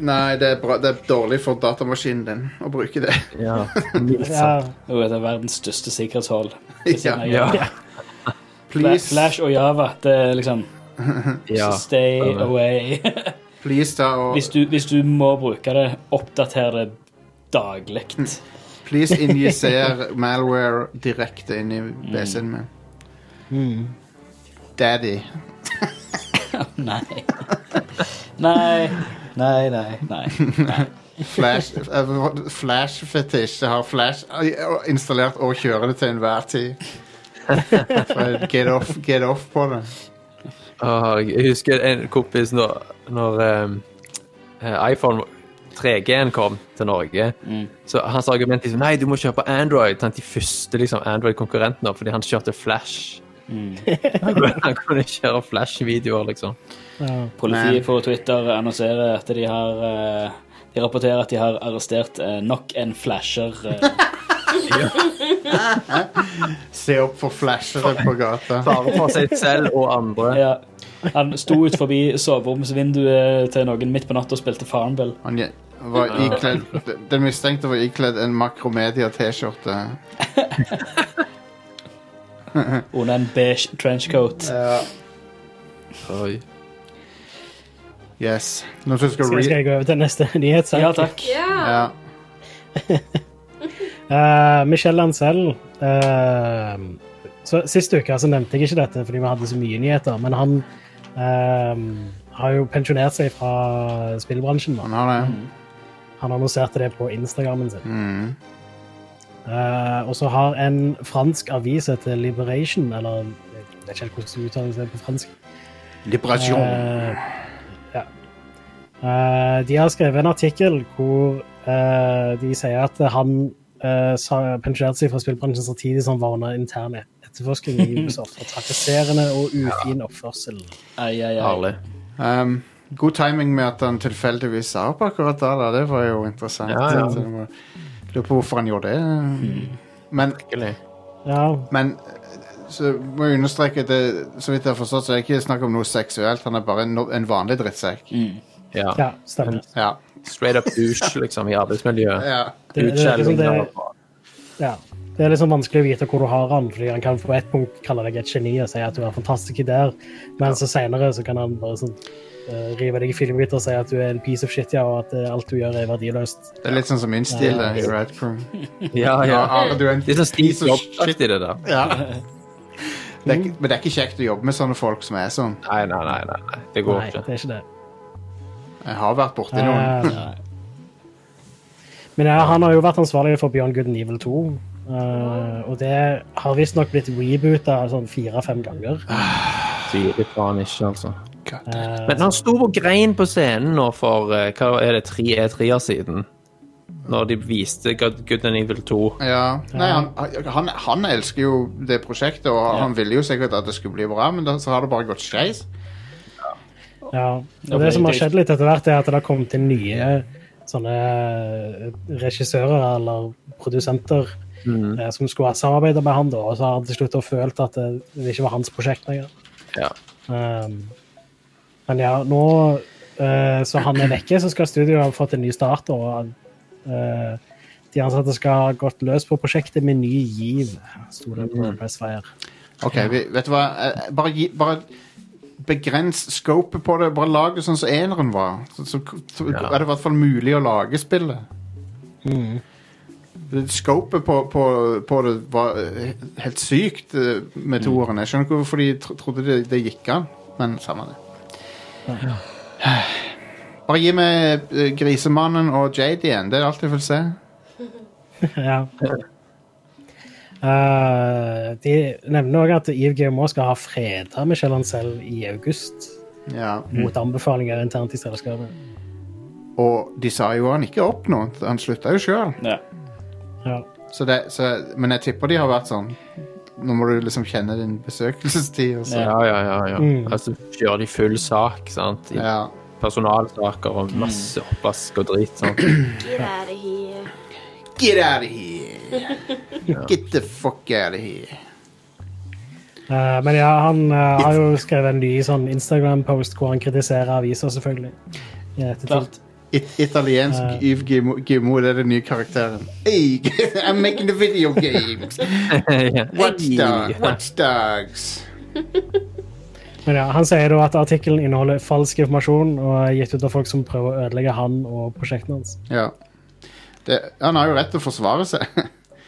Nei, det er, bra, det er dårlig for datamaskinen din å bruke det. Ja. mildt sagt. Ja, Jo, det er verdens største sikkerhetshull. Ja. Ja. Please, Flash og Java, det er liksom Ja. Stay away. please ta og Hvis du, hvis du må bruke det, oppdater det daglig. Please injiser malware direkte inn i PC-en min. Mm. Daddy. Nei. Nei. Nei, nei, nei. Flash, eh, flash fetish. Jeg har flash eh, installert og kjører det til enhver tid. For Get off, get off på det. Åh, jeg husker en kompis når, når ehm, eh, iPhone 3G-en kom til Norge. Så hans argument er liksom, nei, du må kjøpe Android. Sant? De første liksom, Android-konkurrentene, fordi han kjørte Flash. han kunne kjøre Flash-videoer, liksom. ja. Politiet Men- på Twitter annonserer at de har eh, De rapporterer at de har arrestert eh, nok en flasher. eh. Se opp for flashere på gata. Bare for seg selv og andre. ja. Han sto ut forbi soveromsvinduet til noen midt på natta og spilte Farmville. Han je- var ikledd, den mistenkte var ikledd en Makromedia-T-skjorte. Under en beige trenchcoat. Oi. Yes. Nå skal Skal jeg skal re... jeg gå over til neste nyhetssak? Ja takk. Ja. Ja. Eh, Michelle Ancel eh, så Sist uke så nevnte jeg ikke dette fordi vi hadde så mye nyheter, men han eh, har jo pensjonert seg fra spillbransjen. Da. Han har det. Han annonserte det på Instagrammen sin. Eh, og så har en fransk avis heter Liberation, eller jeg vet ikke helt hvordan det uttales det på fransk. Liberasjon. Eh, ja. Eh, de har skrevet en artikkel hvor eh, de sier at han eh, sa- pensjonerte seg fra spillbransjen samtidig som han var under intern etterforskning i Ubisoft for trakasserende og ufin oppførsel. Ai, ai, ai. Herlig. Um, god timing med at han tilfeldigvis sa opp akkurat da, da. Det var jo interessant. Ja, ja. Hmm. Så det var- Lurer på hvorfor han gjorde det. Men, Hyggelig. Ja, men så må jeg understreke at det, så vidt jeg har forstått, så er det ikke snakk om noe seksuelt. Han er bare en, no- en vanlig drittsekk. Hmm. Ja. ja stemmer. Ja. Straight up douche, liksom, i arbeidsmiljøet. ja. Det, det, det, er liksom det, Utskjelling av- ja. Det er liksom vanskelig å vite hvor du har han, fordi han kan på et punkt kalle deg et geni og si at du er fantastisk der, men så senere så kan han bare sånn eh, rive deg i filmbiter og si at du er en piece of shit, ja, og at eh, alt du gjør er verdiløst. Det er litt sånn som min stil det, i Red Crew. Ja, Ja, Are, du er en Litt sånn Steve piece of Jobs-aktig, det der. Ja. Det er, ikke- men det er ikke kjekt å jobbe med sånne folk som er sånn. Nei, nei, nei. nei, nei. Det går Nei, det ikke. er ikke det. Jeg har vært borti noen. Eh, Men ja, han har jo vært ansvarlig for Beyond Good and Evil 2. eh, og det har visstnok blitt reboota sånn fire-fem ganger. Sier faen ikke, altså. God. Eh, Men han sto og grein på scenen nå for eh, hva er det, tre E3-er siden. Når de viste God, Good and Evil 2. Ja. Nei, han, han, han elsker jo det prosjektet, og han ville jo sikkert at det skulle bli bra, men da, så har det bare gått skeis. ja. Og det som har skjedd litt etter hvert, er at det har kommet inn nye sånne eh, regissører eller produsenter eh, som skulle ha samarbeida med han, da, og så har han til slutt da følt at det, det ikke var hans prosjekt lenger. Ja. Um, men ja, nå eh, så han er vekke, så skal studioet ha fått en ny start. Og eh, de ansatte skal ha gått løs på prosjektet med ny giv. Sto det på Pressfire. Ok, vi, vet du hva? Eh, Bare, gi, bare begrens scopet på det. Bare lag det sånn som eneren var. Så, så, så Ja. er det i hvert fall mulig å lage spillet. Scopet på, på, på det var eh, helt sykt eh, med toeren. Jeg skjønner ikke hvorfor de tro- trodde det, det gikk an, men samme det. Bare gi meg eh, Grisemannen og Jade igjen. Det er alt jeg vil se. ja. Eh, de nevner òg at Yves Guillemot skal ha freda Michel Ancel i august. Ja. Mot anbefalinger internt i selskapet. Og de sa jo han ikke opp nå. Han slutta jo sjøl. Ja. Ja. Så det, så, men jeg tipper de har vært sånn Nå må du liksom kjenne din besøkelsestid. Og sånn. så. Ja. Ja, ja, ja. ja. Altså, kjører de full sak, sant? I Mm. Ja. personalsaker og masse oppvask og drit, sant? Get out of here. Get out of here! Get the fuck out of here. Eh, men ja, han eh, har jo skrevet en ny sånn Instagram-post hvor han kritiserer aviser, selvfølgelig. i ettertid. Klart. It italiensk Yves Gimo, Gimo, det er den nye karakteren. Hey, I'm making the video games! Ja. Watchdogs! Watchdogs. Men ja, Han sier da at artikkelen inneholder falsk informasjon og er gitt ut av folk som prøver å ødelegge han og prosjektene hans. Ja. Det, han har jo rett til å forsvare seg.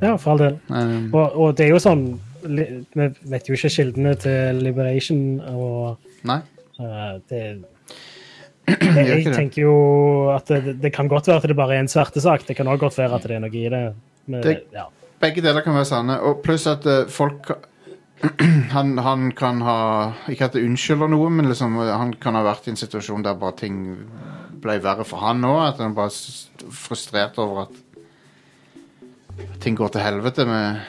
Ja, for all del. Um, Og, og det er jo sånn li- Vi vet jo ikke kildene til Liberation, og nei. eh, det gjør Jeg ikke det. tenker jo at det, det kan godt være at det bare er en svertesak. Det kan også godt være at det er noe i det. Men, Det- ja. Begge deler kan være sanne. Og pluss at eh, folk han, han kan ha Ikke at det unnskylder noe, men liksom, eh, han kan ha vært i en situasjon der bare ting ble verre for han òg. At han bare s- frustrert over at ting går til helvete med,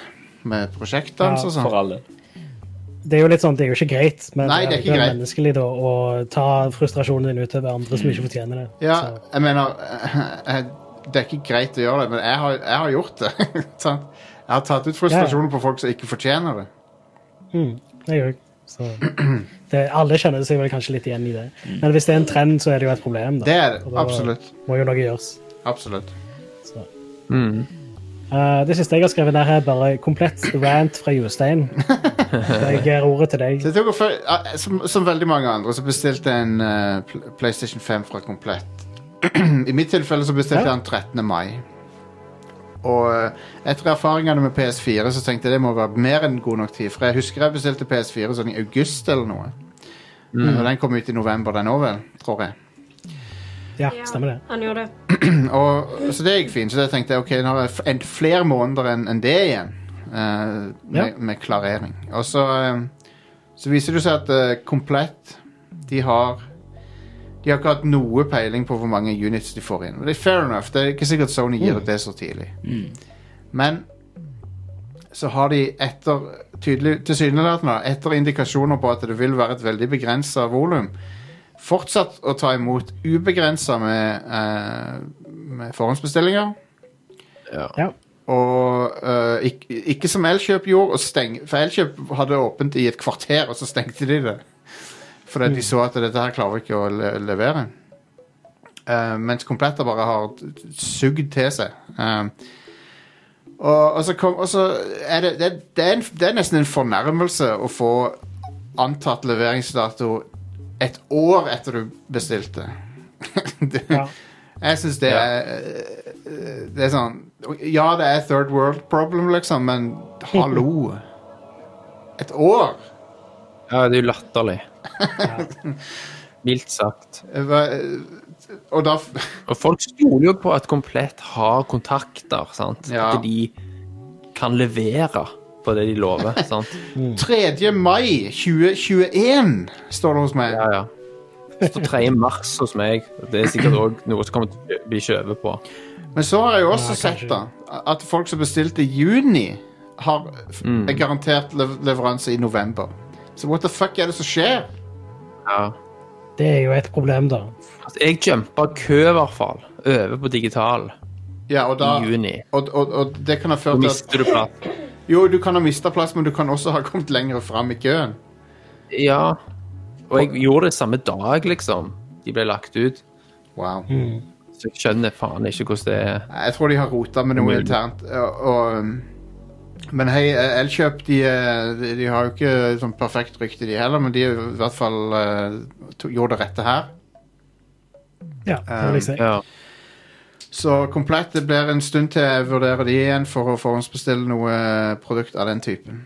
med prosjektet hans og For sånn. alle. Det er jo litt sånn, det er jo ikke greit, men Nei, det er ikke greit. menneskelig da, å ta frustrasjonen din ut over andre som Mm. ikke fortjener det. Ja, Så- jeg mener eh, eh, Det er ikke greit å gjøre det, men jeg har, jeg har gjort det. sant? jeg har tatt ut frustrasjonen på folk som ikke fortjener det. Mm, det gjør jeg. Så det, alle kjenner seg vel kanskje litt igjen i det. Men hvis det er en trend, så er det jo et problem. Mm. Da. Det er det. Og da Absolutt. Må jo noe gjøres. Absolutt. Så. Mm. Eh, det siste jeg har skrevet der, er bare komplett rant fra Jostein. Så jeg gir ordet til deg. Det tok å føl- ja, som, som veldig mange andre så bestilte jeg en eh, Pl- PlayStation 5 fra Komplett. I mitt tilfelle så bestilte jeg Ja. den 13. mai. Og eh, etter erfaringene med PS4 så tenkte jeg det må være mer enn god nok tid. For jeg husker jeg bestilte PS4 sånn i august eller noe. Og den kom ut i november, den òg, vel? Tror jeg. Ja, Ja, stemmer det. Han gjorde det. Og, så det gikk fint. Så jeg tenkte ok, nå har jeg f- en, flere måneder enn enn det igjen eh, med, Ja. med klarering. Og så, eh, så viser det seg at eh, Komplett de har De har ikke hatt noe peiling på hvor mange units de får inn. Og Det er fair enough. Det er ikke sikkert Sony gir ut det så tidlig. Men så har de etter tydelig, tilsynelatende da, etter indikasjoner på at det vil være et veldig begrensa volum, fortsatt å ta imot ubegrensa med, eh, med forhåndsbestillinger. Ja. Og eh, ikke, ikke som Elkjøp gjorde, og steng, for Elkjøp hadde åpent i et kvarter, og så stengte de det. Fordi de så at dette her klarer vi ikke å le levere. Eh, mens Kompletter bare har sugd til seg. Eh, Og, og så, kom, og så er det, det, det, er en, det er nesten en fornærmelse å få antatt leveringsdato et år etter du bestilte. det, Ja. Jeg syns det er eh, Det er sånn Ja, det er third world problem, liksom, men hallo. Et år? Ja, det er jo latterlig. Mildt sagt. Eh, hva- eh, Og da f- Og folk stoler jo på at Komplett har kontakter, sant? Ja. At de kan levere på det de lover, sant? 3. mai 2021 står det hos meg. Ja, ja. Så 3. mars hos meg, og det er sikkert òg noe som kommer til å bli skjøvet på. Men så har jeg jo også Ja, sett kanskje. da at folk som bestilte i juni, har f- Mm. er garantert lev leveranse i november. Så what the fuck er det som skjer? Ja. Det er jo et problem, da. Altså, jeg jumpa kø, i hvert fall, over på digital Ja, og, da, i juni. og, og, og det kan ha Så ført til at mister du plass. Jo, du kan ha mista plass, men du kan også ha kommet lenger fram i køen. Ja. Og jeg gjorde det samme dag, liksom. De ble lagt ut. Wow. Så jeg skjønner faen ikke hvordan det er. Jeg tror de har rota med noe Mulig. internt. Og, og, men hei, Elkjøp de, eh, de, de har jo ikke sånn perfekt rykte, de heller, men de i hvert fall eh, to, gjorde det rette her. Ja, det vil jeg si. Ja. Så komplett, det blir en stund til jeg vurderer de igjen for å forhåndsbestille noe eh, produkt av den typen.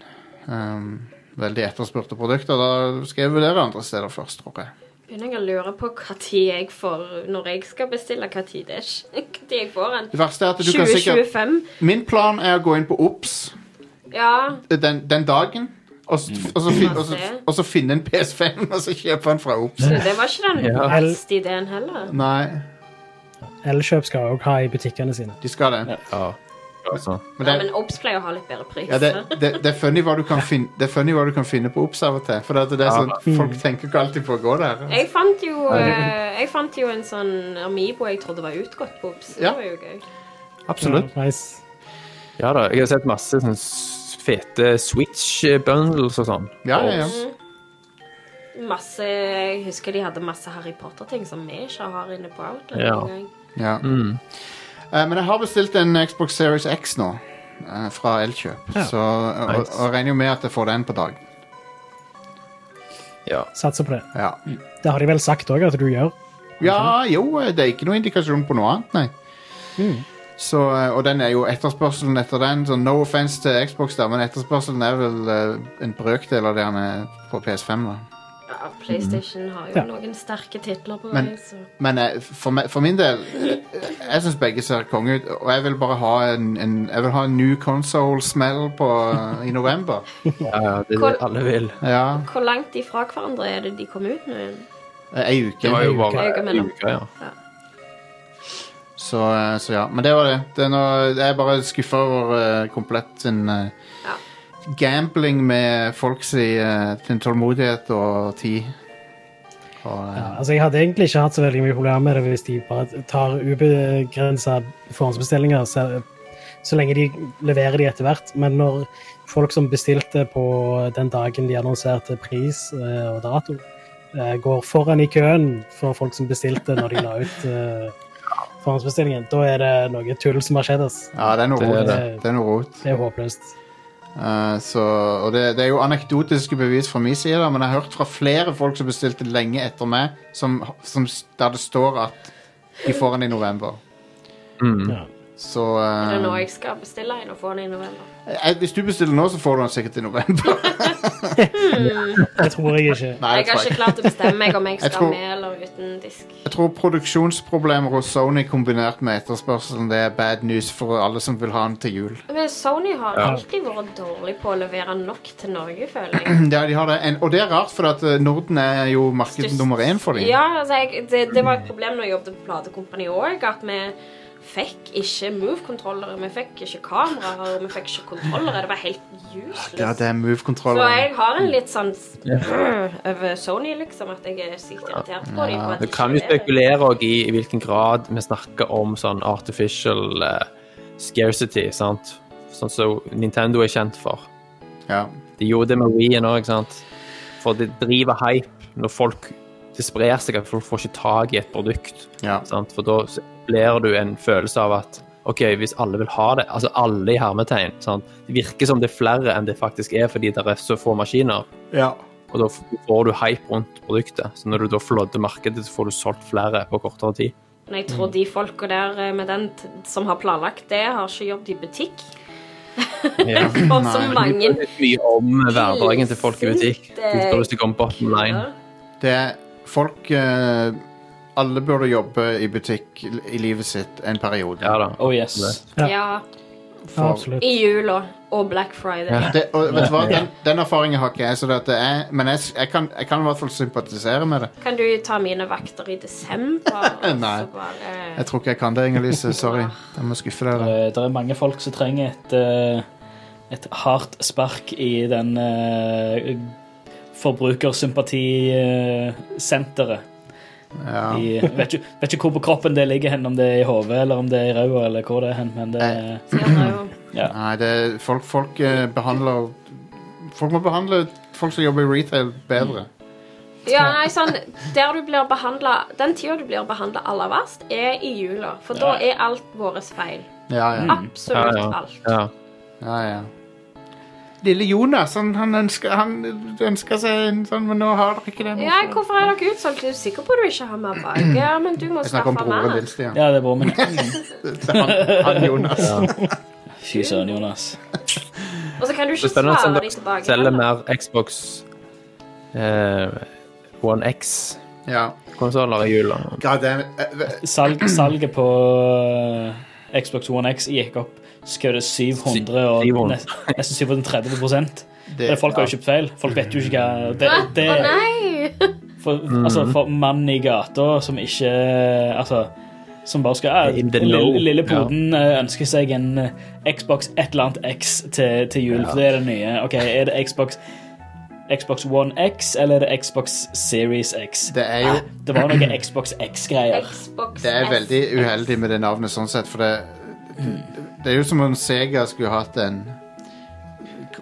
Um, veldig etterspurte produkter. Da skal jeg vurdere andre steder først, tror jeg. Begynner jeg å lure på hva tid jeg får når jeg skal bestille hva tid det er. Hva tid jeg får den. Det verste er at du kan sikkert 2025. Min plan er å gå inn på OBS eh, Ja. den, den dagen, og, s- og, så fin, og, så, og så finne en PS5 og så kjøpe den fra OBS. Så det var ikke den Ja. beste ideen heller. Nei, Elkjøp skal òg ha i butikkene sine. de skal det. ja. Altså. Men Nei, det, men Obs pleier å ha litt bedre pris. ja, det, det, det, er funny hva du kan finne, det er funny hva du kan finne på OBS av og til. For det er sånn, folk tenker ikke alltid på å gå der. Jeg fant jo, eh, jeg fant jo en sånn Amibo jeg trodde var utgått på Obs. Ja. Det var jo gøy. Absolutt. Ja, nice. Mm. ja da. Jeg har sett masse sånne s- fete Switch-bundles og sånn. Ja, ja, ja. Mm. Masse, jeg husker de hadde masse Harry Potter-ting som vi ikke har inne på Outlet. Ja. engang. Ja. Mm. Eh, men jeg har bestilt en Xbox Series X nå, eh, fra Elkjøp. Så, og, Nice. og regner jo med at jeg får den på dag. Ja. Satser på det. Ja. Det har de vel sagt òg at du gjør. Mm. ja, jo, eh, det er ikke noen indikasjon på noe annet, nei. Mm. Så, eh, og den er jo etterspørselen etter den. Så no offense til Xbox, der, men etterspørselen er vel eh, en brøkdel av det han er på PS5. da. Ja, PlayStation har jo Ja. noen sterke titler på Men- vei, så Men eh, for, me- for min del eh, Jeg syns begge ser konge ut, og jeg vil bare ha en, en, jeg vil ha en new console-smell på- eh, i november. ja, ja. Det er det alle vil. Ja, Hvor langt ifra hverandre er det de kom ut nå igjen? eh, Ei uke. Det var jo bare Uka mellom. uka, ja. Så, eh, så ja, men det var det. det er noe, jeg er bare skuffa over eh, komplett sin eh, Ja. gambling med folks i, eh, sin tålmodighet og tid. Og, eh, Altså, Jeg hadde egentlig ikke hatt så veldig mye problemer med det hvis de bare tar ubegrensa forhåndsbestillinger, så, så lenge de leverer de etter hvert. Men når folk som bestilte på den dagen de annonserte pris eh, og dato, eh, går foran i køen for folk som bestilte når de la ut eh, forhåndsbestillingen, da er det noe tull som har skjedd. ass. ja, det er noe Det er rot. det. Det er noe rot. Det er håpløst. Eh, så, og det, det er jo anekdotiske bevis fra min side, da, men jeg har hørt fra flere folk som bestilte lenge etter meg, som, som, der det står at de får den i november. Ja. Så Er eh, det nå jeg skal bestille en og få den i november? eh, Hvis du bestiller nå, så får du den sikkert i november. Det tror jeg ikke. Nei, Jeg tror har ikke klart å bestemme meg om jeg Jeg skal tror- med eller uten disk. Jeg tror produksjonsproblemer hos Sony kombinert med etterspørselen det er bad news for alle som vil ha den til jul. Men Sony har alltid vært dårlig på å levere nok til Norge, føler jeg. Ja, de har det. En, og det er rart, for at eh, Norden er jo marked Størst- nummer én for dem. Ja, altså jeg, det, det var et problem når jeg jobbet på platekompani òg, at vi fikk ikke move-kontrollere, vi fikk ikke kameraer, vi fikk ikke kontrollere. Det var helt useless. Ja, det er så move-kontroller. jeg har en litt sånn s- over Sony, liksom, at jeg er sykt irritert på dem. på at Du de kan ikke leverer. jo spekulere også i, i hvilken grad vi snakker om sånn artificial eh, scarcity, sant? Sånn som Nintendo er kjent for. Ja. De gjorde det med Wien òg, ikke sant? For det driver hype når folk Det sprer seg at folk får ikke tak i et produkt. Ja. Sant? For da blir du en følelse av at OK, hvis alle vil ha det, altså alle i hermetegn sant? Det virker som det er flere enn det faktisk er fordi det er så få maskiner. Ja. Og da får du hype rundt produktet. Så når du da flodder markedet, så får du solgt flere på kortere tid. Men jeg Mm. tror de folka der eh, med den t- som har planlagt det, har ikke jobbet i butikk. Ja. For så mange eh, Det er mye om hverdagen til folk i butikk. Så Hvis det kommer bottom line. Det er folk eh, Alle burde jobbe i butikk i livet sitt en periode. Ja da. Oh yes. Ja. Ja, Ja, absolutt. i jula og Black Friday. Det, og vet du hva, den, den erfaringen har ikke jeg, så dette er, men jeg, s- jeg, kan, jeg kan i hvert fall sympatisere med det. Kan du ta mine vakter i desember? og Nei. så bare- eh, Jeg tror ikke jeg kan det, Inger-Lise. Sorry. Jeg må skuffe deg. der. Eh, Det er mange folk som trenger et, eh, et hardt spark i den eh, forbrukersympatisenteret. Ja. I, vet, ikke, vet ikke hvor på kroppen det ligger hen, om det er i hodet eller om det er i ræva eller hvor det er hen, men det er Så gjør det jo. Nei, det, er- folk, folk eh, behandler Folk må behandle folk som jobber i retail, bedre. Ja, nei, sånn, der du blir behandlet, Den tida du blir behandla aller verst, er i jula. For da er alt vårt feil. Ja, Mm. Mm. ja. Absolutt Ja, ja. alt. Ja. ja, ja. Lille Jonas, han, han, ønsker, han ønsker seg en sånn, men nå har dere ikke det. nå. Ja, hvorfor er dere utsolgt? Er du sikker på at du ikke har mer baker? Men du må Jeg snakker skaffe om broren mer. din, Stian. Ja, det er broren min. Han, han Jonas. Fy søren, Jonas. Og så kan du Det ikke er spennende å se om svare de dere tilbake. selger heller. mer Xbox eh, One X-konsoller Ja. i jula. God damn it. Eh, ve- Salg, salget på eh, Xbox One X gikk opp skjøt 700 og 700. nest- nesten 730 Det- det, Folk har jo kjøpt feil. Folk vet jo ikke hva det, det, Å nei! for, altså, for mannen i gata som ikke Altså som bare skal ja, In the low. lille, lille poden eh, ønsker seg en eh, Xbox et eller annet X til, til jul, for det er det nye. Ok, Er det Xbox Xbox One X eller er det Xbox Series X? Ah, Det er jo Det var noe Xbox X-greier. Xbox Det er S. veldig uheldig med det navnet sånn sett, for det Det er jo som om Sega skulle hatt en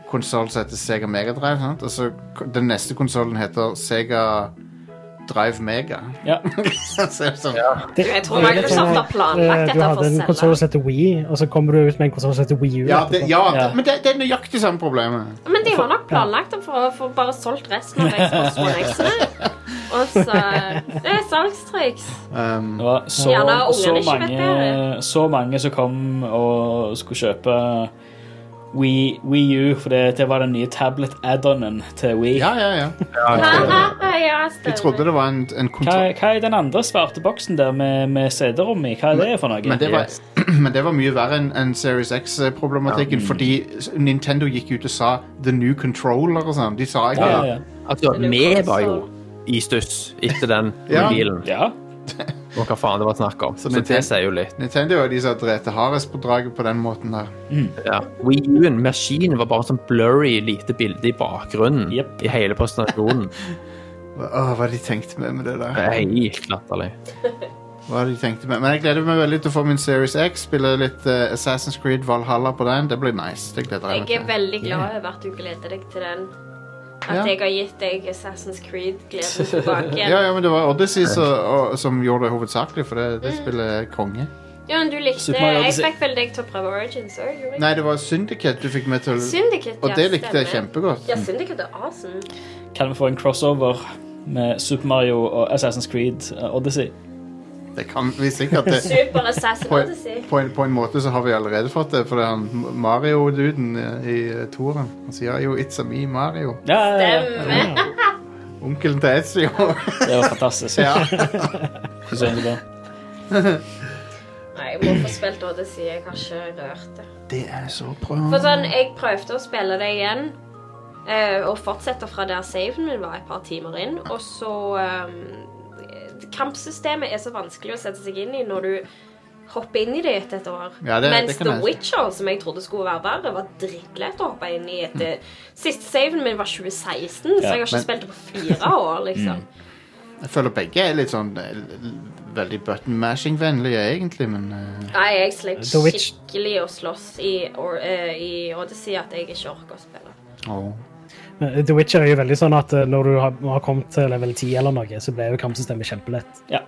konsoll som heter Sega Mega Drive, sant? og så k- den neste konsollen heter Sega Drive Mega. Ja. så er det sånn, Det, Jeg tror det er litt Microsoft sånn har at, planlagt eh, Du dette for hadde å en selge. konsoll som heter Wii, og så kommer du ut med en konsoll som heter Wii U. ja, det, ja, Ja. det, men det, det er nøyaktig samme problemet. Men de har nok planlagt det for å få bare solgt resten av Xbox One X-ene. Og så Det er salgstriks. Um, Det var så, Gjerne ungene så, ikke vet mange, så mange som kom og skulle kjøpe Wii, Wii U, for det, det var den nye tablet-addonen til Wii. ja, ja, ja. ja, Jeg trodde stemmer. det var en, en Hva, kontroll... hva er den andre svarte boksen der med, med CD-rom i? Hva er det for noe? Men det, var, men det var mye verre enn enn Series X-problematikken, mm. fordi Nintendo gikk ut og sa 'the new controller' og sånn. De sa ikke ja, ja, ja. Altså, er jo vi konsol. var jo i stuss etter den Ja. mobilen. ja. Og hva faen det var snakk om. Så men det tenk- sier jo litt. Nintendo er de som har drept hardest på draget på den måten der. Ja. Wii U-en, maskinen, var bare sånn blurry lite bilde i bakgrunnen Jep. i hele presentasjonen. Åh, hva de tenkte med med det der. Det er helt latterlig. Hva de tenkte med. Men jeg gleder meg veldig til å få min Series X, spille litt eh, Assassin's Creed Valhalla på den. Det blir nice. Det gleder jeg Jeg er meg til. veldig glad over at du gleder deg til den. At Ja. jeg har gitt deg Assassin's Creed-gleden tilbake. Ja, ja, men det var Odyssey så, og, som gjorde det hovedsakelig, for det, Mm. det spiller konge. Ja, men du likte Super Mario Jeg Odyssey. fikk vel deg til å prøve Origins òg, gjorde jeg? Nei, det var Syndicate du fikk med til Syndicate, Og ja, det likte jeg stemmer. kjempegodt. Ja, Syndicate er awesome. Kan vi få en crossover med Super Mario og Assassin's Creed eh, Odyssey? Det kan vi sikkert. Det. Super Assassin På, Odyssey. på, en, på en måte så har vi allerede fått det, for det er han Mario-duden eh, i eh, toeren. Han sier jo 'It's a me, Mario'. Ja, ja, ja. Stemmer. Onkelen til Ezio. Det var fantastisk. ja. Synes jeg det var. Nei, jeg må få spilt Odyssey. Jeg har ikke rørt det. Det er så bra. For sånn, jeg prøvde å spille det igjen. eh, og fortsette fra der saven min var et par timer inn. Og så eh, Kampsystemet er så vanskelig å sette seg inn i når du hopper inn i det etter et år. Ja, det- Mens det kan The jeg- Witcher, som jeg trodde skulle være verre, var drittlett å hoppe inn i etter Siste saven min var 2016, så jeg har men- Mm. ikke spilt det på fire år, liksom. Jeg føler begge er litt sånn eh, l- l- veldig button mashing-vennlige, egentlig, men eh, Nei, jeg slet The Witch- skikkelig å slåss i, or, eh, i Odyssey at jeg ikke orker å spille. åh. The Witcher er jo veldig sånn at eh, når du har, har kommet til level 10 eller noe, så ble jo kampsystemet kjempelett. Ja.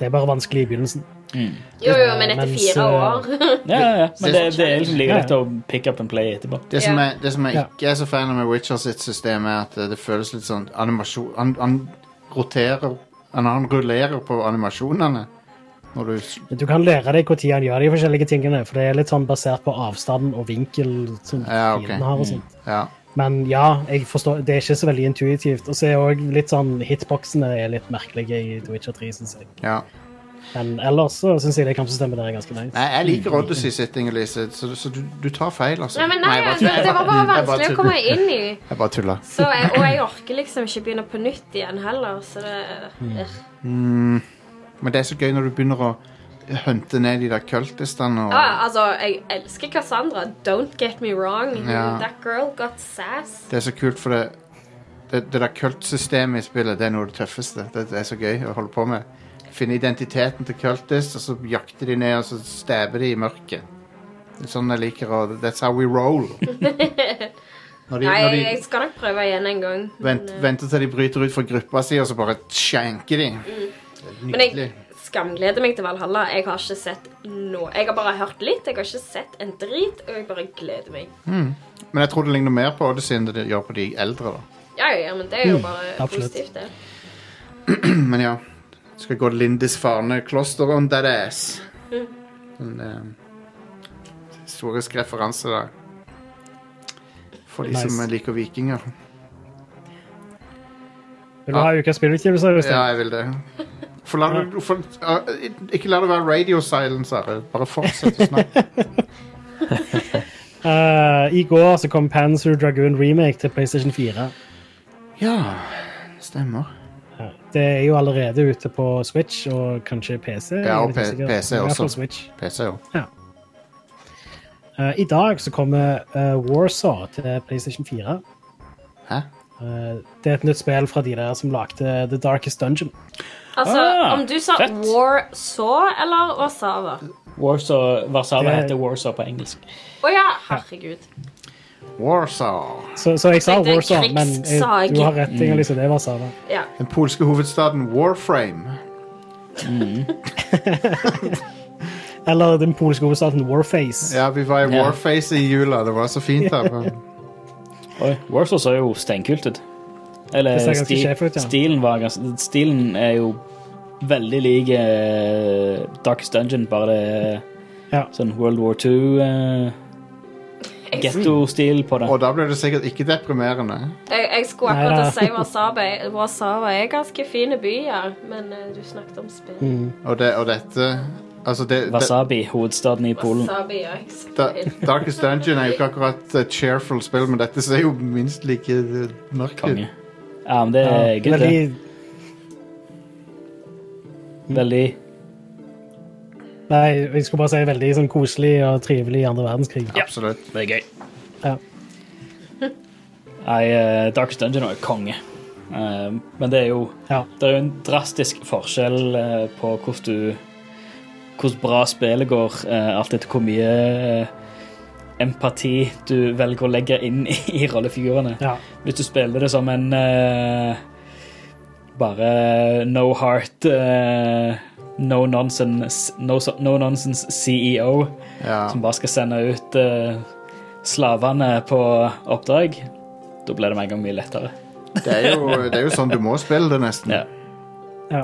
Det er bare vanskelig i begynnelsen. Jo, jo, men Eh, etter mens, fire år Ja, ja, ja. Men det, det er liksom like Ja. greit å pick up and play etterpå. Det som, Ja. er, det som jeg Ja. ikke er så fan av med Witcher sitt system, er at eh, det føles litt sånn animasjon Han, han roterer han, han rullerer på animasjonene når du s- Men Du kan lære deg når han gjør de forskjellige tingene, for det er litt sånn basert på avstand og vinkel som Ja, ok. Mm. fienden har og sånt. Ja. Men ja, jeg forstår, det er ikke så veldig intuitivt. Og så er òg litt sånn Hitboxene er litt merkelige i The Witcher 3, syns jeg. ja. Men ellers så syns jeg det kampsystemet der er ganske nice. Nei, jeg liker Odyssey-sitting, Elise, så, så du, du tar feil, altså. Nei, men nei, jeg bare altså, tuller. det var bare Jeg bare vanskelig å tuller. komme inn i. Jeg bare tuller. Så jeg, og jeg orker liksom ikke begynne på nytt igjen heller, så det eh, Mm. Men det er så gøy når du begynner å hunte ned de der kultistene og Ja, altså, jeg elsker Cassandra. Don't get me wrong. Ja. That girl got sass. Det er så kult, for det det, det der kultsystemet i spillet Det er noe av det tøffeste. Det, det er så gøy å holde på med. Finne identiteten til kultist, og så jakte de ned og så stabber de i mørket. Det er sånn jeg liker å That's how we roll. Når de, Nei, når jeg, de jeg skal nok prøve igjen en gang. vent, venter til de bryter ut fra gruppa si, og så bare skjenker de. Det er Mm. Men nydelig. jeg skamgleder meg til Valhalla. Jeg har ikke sett noe. Jeg har bare hørt litt, jeg har ikke sett en drit, og jeg bare gleder meg. Men jeg tror det ligner mer på Odyssey enn det gjør på de eldre. da Ja, ja, ja, men det er jo bare Mm, absolutt. positivt, det. Men ja. Skal gå Lindisfarne kloster on that ass. En eh, historisk referanse der. For de Nice. som liker vikinger. Vil du ha ukas spillutgivelse? Øystein? Ja, jeg vil det. For la, det- for, ah, ikke la det være radio silence, Are. Bare fortsett å snakke. Eh, I går så kom Panzer Dragoon remake til PlayStation 4. ja, stemmer. Det er jo allerede ute på Switch og kanskje PC. jeg er og litt P- usikker. PC I hvert fall også. Switch. PC, jo. Eh, I dag så kommer eh, Warsaw til PlayStation 4. Hæ? Eh, det er et nytt spill fra de der som lagde The Darkest Dungeon. Altså, Ah, om du sa fett. War Saw eller Warszawa? Warsaw, Warszawa Det- heter Warsaw på engelsk. Å ja, herregud. Warsaw. Så, så jeg sa Det er Warsaw, men jeg, krigssag. du har rett. Inger Lise, det var Sava. Ja. Den polske hovedstaden Warframe. Eller den polske hovedstaden Warface. Ja, vi var i Ja. Warface i jula. Det var så fint her. men- Oi, Warsaw så jo steinkult ut. Eller Det ser ganske sti- sjef ut, ja. stilen var ganske Stilen er jo veldig lik eh, Darkest Dungeon, bare det er Ja. sånn World War II-getto-stil på det. Og da ble det sikkert ikke deprimerende. Jeg, jeg skulle Nei, akkurat da. si Warszawa. Warszawa er ganske fine byer, men eh, du snakket om spill. Og, det, og dette Altså, det, det Wasabi, hovedstaden i Polen. Wasabi, ja. jeg sa da, feil. Darkest Dungeon er jo ikke akkurat et cheerful spill, men dette ser jo minst like eh, mørkt ut. Konge. Ja, men det er Ja, good, Eh, veldig, det. Veldig nei, jeg skulle bare si veldig sånn koselig og trivelig i andre verdenskrig. Absolutt. Det er gøy. Ja. Nei, eh, Darkest Dungeon er konge. Eh, men det er jo Ja. Det er jo en drastisk forskjell eh, på hvordan du Hvordan bra spillet går, eh, alt etter hvor mye eh, empati du velger å legge inn i, i rollefigurene. Ja. Hvis du spiller det som en eh, bare no heart, eh, no nonsense, no, so- no nonsense CEO Ja. som bare skal sende ut eh, slavene på oppdrag, da blir det med en gang mye lettere. Det er, jo, det er jo sånn du må spille det, nesten. Ja. Ja.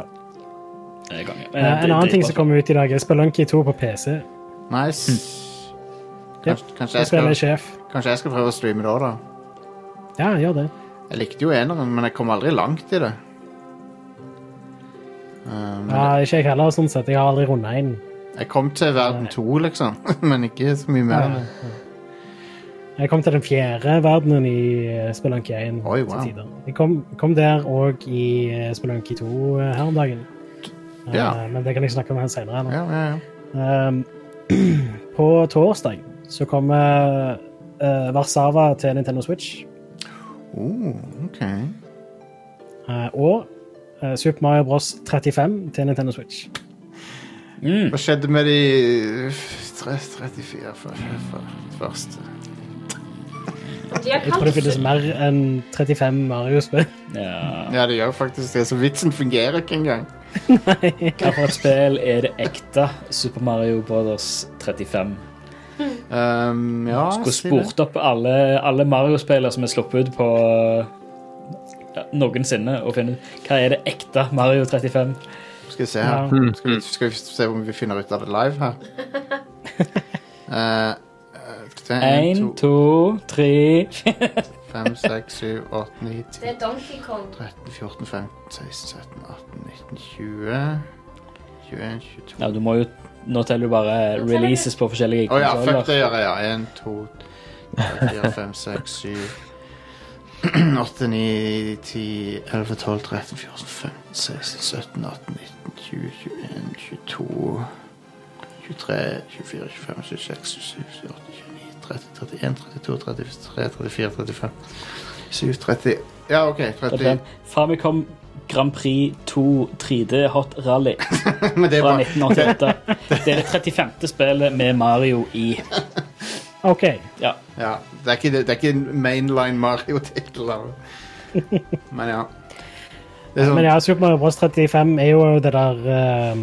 Det er konge. Eh, Eh, det- En annen det- ting som kom ut i dag, er Spelunky 2 på PC. Hm. Nice. Yep. Kanskje, kanskje, Jeg jeg skal, spiller sjef. kanskje jeg skal prøve å streame det òg, da. Ja, gjør det. Jeg likte jo eneren, men jeg kom aldri langt i det. Um, Ja, ikke jeg heller, sånn sett. Jeg har aldri runda inn. jeg kom til verden to, liksom, men ikke så mye mer. enn det. Jeg kom til den fjerde verdenen i eh, Spelunky 1. Oi, til wow. tider. Jeg kom, kom der og i eh, Spelunky 2 her om dagen. Eh, Ja. Men det kan jeg snakke om her senere. nå. Ja, ja, ja. Ehm, på torsdag så kommer uh, Warszawa til Nintendo Switch. Oh, OK. eh, og eh, Super Mario Bros. 35 til Nintendo Switch. Hm. Hva skjedde med de tre- 34 for- for- for- første? De har Jeg tror det finnes kalt mer enn 35 Mario-spill. Ja. Ja, det gjør faktisk det, så vitsen fungerer ikke engang. Hvilket spill er det ekte Super Mario Brothers 35? Um, ja, Skulle si det. spurt opp alle, alle Mario-spillere som er sluppet ut på ja, noensinne, og finne ut hva er det ekte Mario 35. Skal vi se her. Skal, vi, skal vi se om vi finner ut av det live her. Eh, eh, skal vi se, en, Én, to, to, tre fem, seks, syv, åtte, ni, ti, Det er Donkey Kong. 13, 14, 15, 16, 17, 18, 19, 20 21, 22 Ja, du må jo Nå teller du bare releases på forskjellige Å ja, konsoller. fuck det gjør jeg, ja. 1, 2, 3, 4, 5, 6, 7, 8, 9, 10, 11, 12, 13, 14, 15, 16, 17, 18, 19, 20, 21, 22, 23, 24, 25, 26, 27, 28, 29, 30, 31, 32, 33, 34, 35, 7, 30 Ja, OK. 30. Den Famicom Grand Prix 2 3D Hot Rally Men det er fra bare 1988. Det er det 35. spillet med Mario i. OK. Ja. Ja, det er ikke, det er ikke en mainline Mario-tittel. da. Men ja. Det er sånn- Men ja, Super Mario Bros. 35 er jo det der ehm,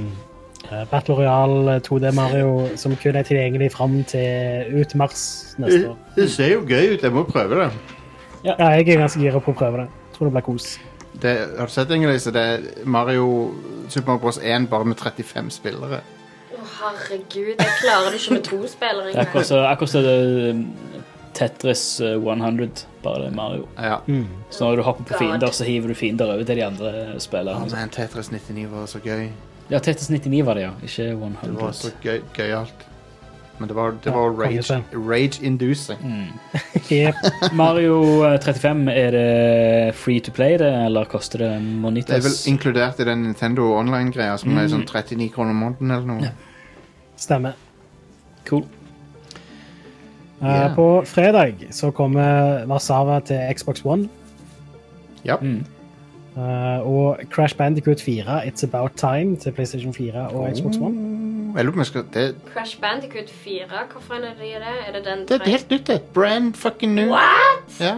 eh, Battle Royale 2D Mario som kun er tilgjengelig fram til ut mars neste år. Det ser jo gøy ut. Jeg må prøve det. Ja, jeg er ganske gira på å prøve det. Tror det blir kos. det har du sett, Inge-Lise? Det er Mario Super Mario Bros. 1 bare med 35 spillere. Å, herregud, jeg klarer det ikke med to spillere Det er akkurat engang. så- akkurat som um, Tetris uh, 100, bare det er Mario. Ja. Mm. Så når du hopper på God. fiender, så hiver du fiender over til de andre Å, spillerne. men Tetris 99 var så gøy. Ja, Tetris 99 var det, ja. Ikke Det var så 100. gøy- gøyalt. Men det var, det var rage, kongespill. rage-inducing. Mm. Jep. Mario eh, 35, er det free to play, det, eller koster det Det er vel Monitas? inkludert i den Nintendo Online-greia, som er Mm. sånn 39 kroner om måneden eller noe. Stemmer. Cool. Eh, Ja. På fredag så kommer Warszawa til Xbox One. Ja. Mm. eh, og Crash Bandicoot 4, It's About Time, til PlayStation 4 og Xbox Oh. One. Jeg lurer på om jeg skal det, Crash Bandicoot 4, hvorfor er det det? Er det den det er helt nytt, det. Brand fucking new. What? Ja,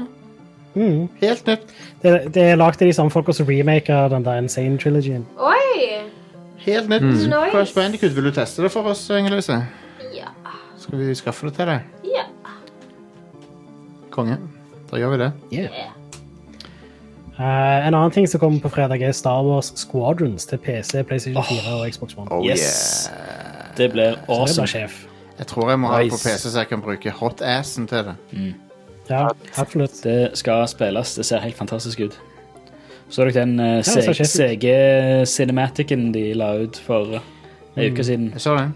Mm. helt nytt. Det, det er lagd av de samme folka som remaker den der Insane Trilogyen. Oi! Helt nytt. Nice. Crash Bandicoot, vil du teste det for oss, Inge-Lise? Ja. Skal vi skaffe det til deg? Ja. Konge. Da gjør vi det. Eh, en annen ting som kommer på fredag, er Star Wars Squadrons til PC, PlayStation 4 og Xbox One. Oh, Yes. Det blir Det blir awesome. sjef. Jeg tror jeg må ha det på Nice. PC, så jeg kan bruke hotassen til det. Ja, absolutt. Det skal spilles. Det ser helt fantastisk ut. Så dere den eh, det ser sjef ut. CG-cinematicen de la ut for eh, en uke siden? Jeg så den.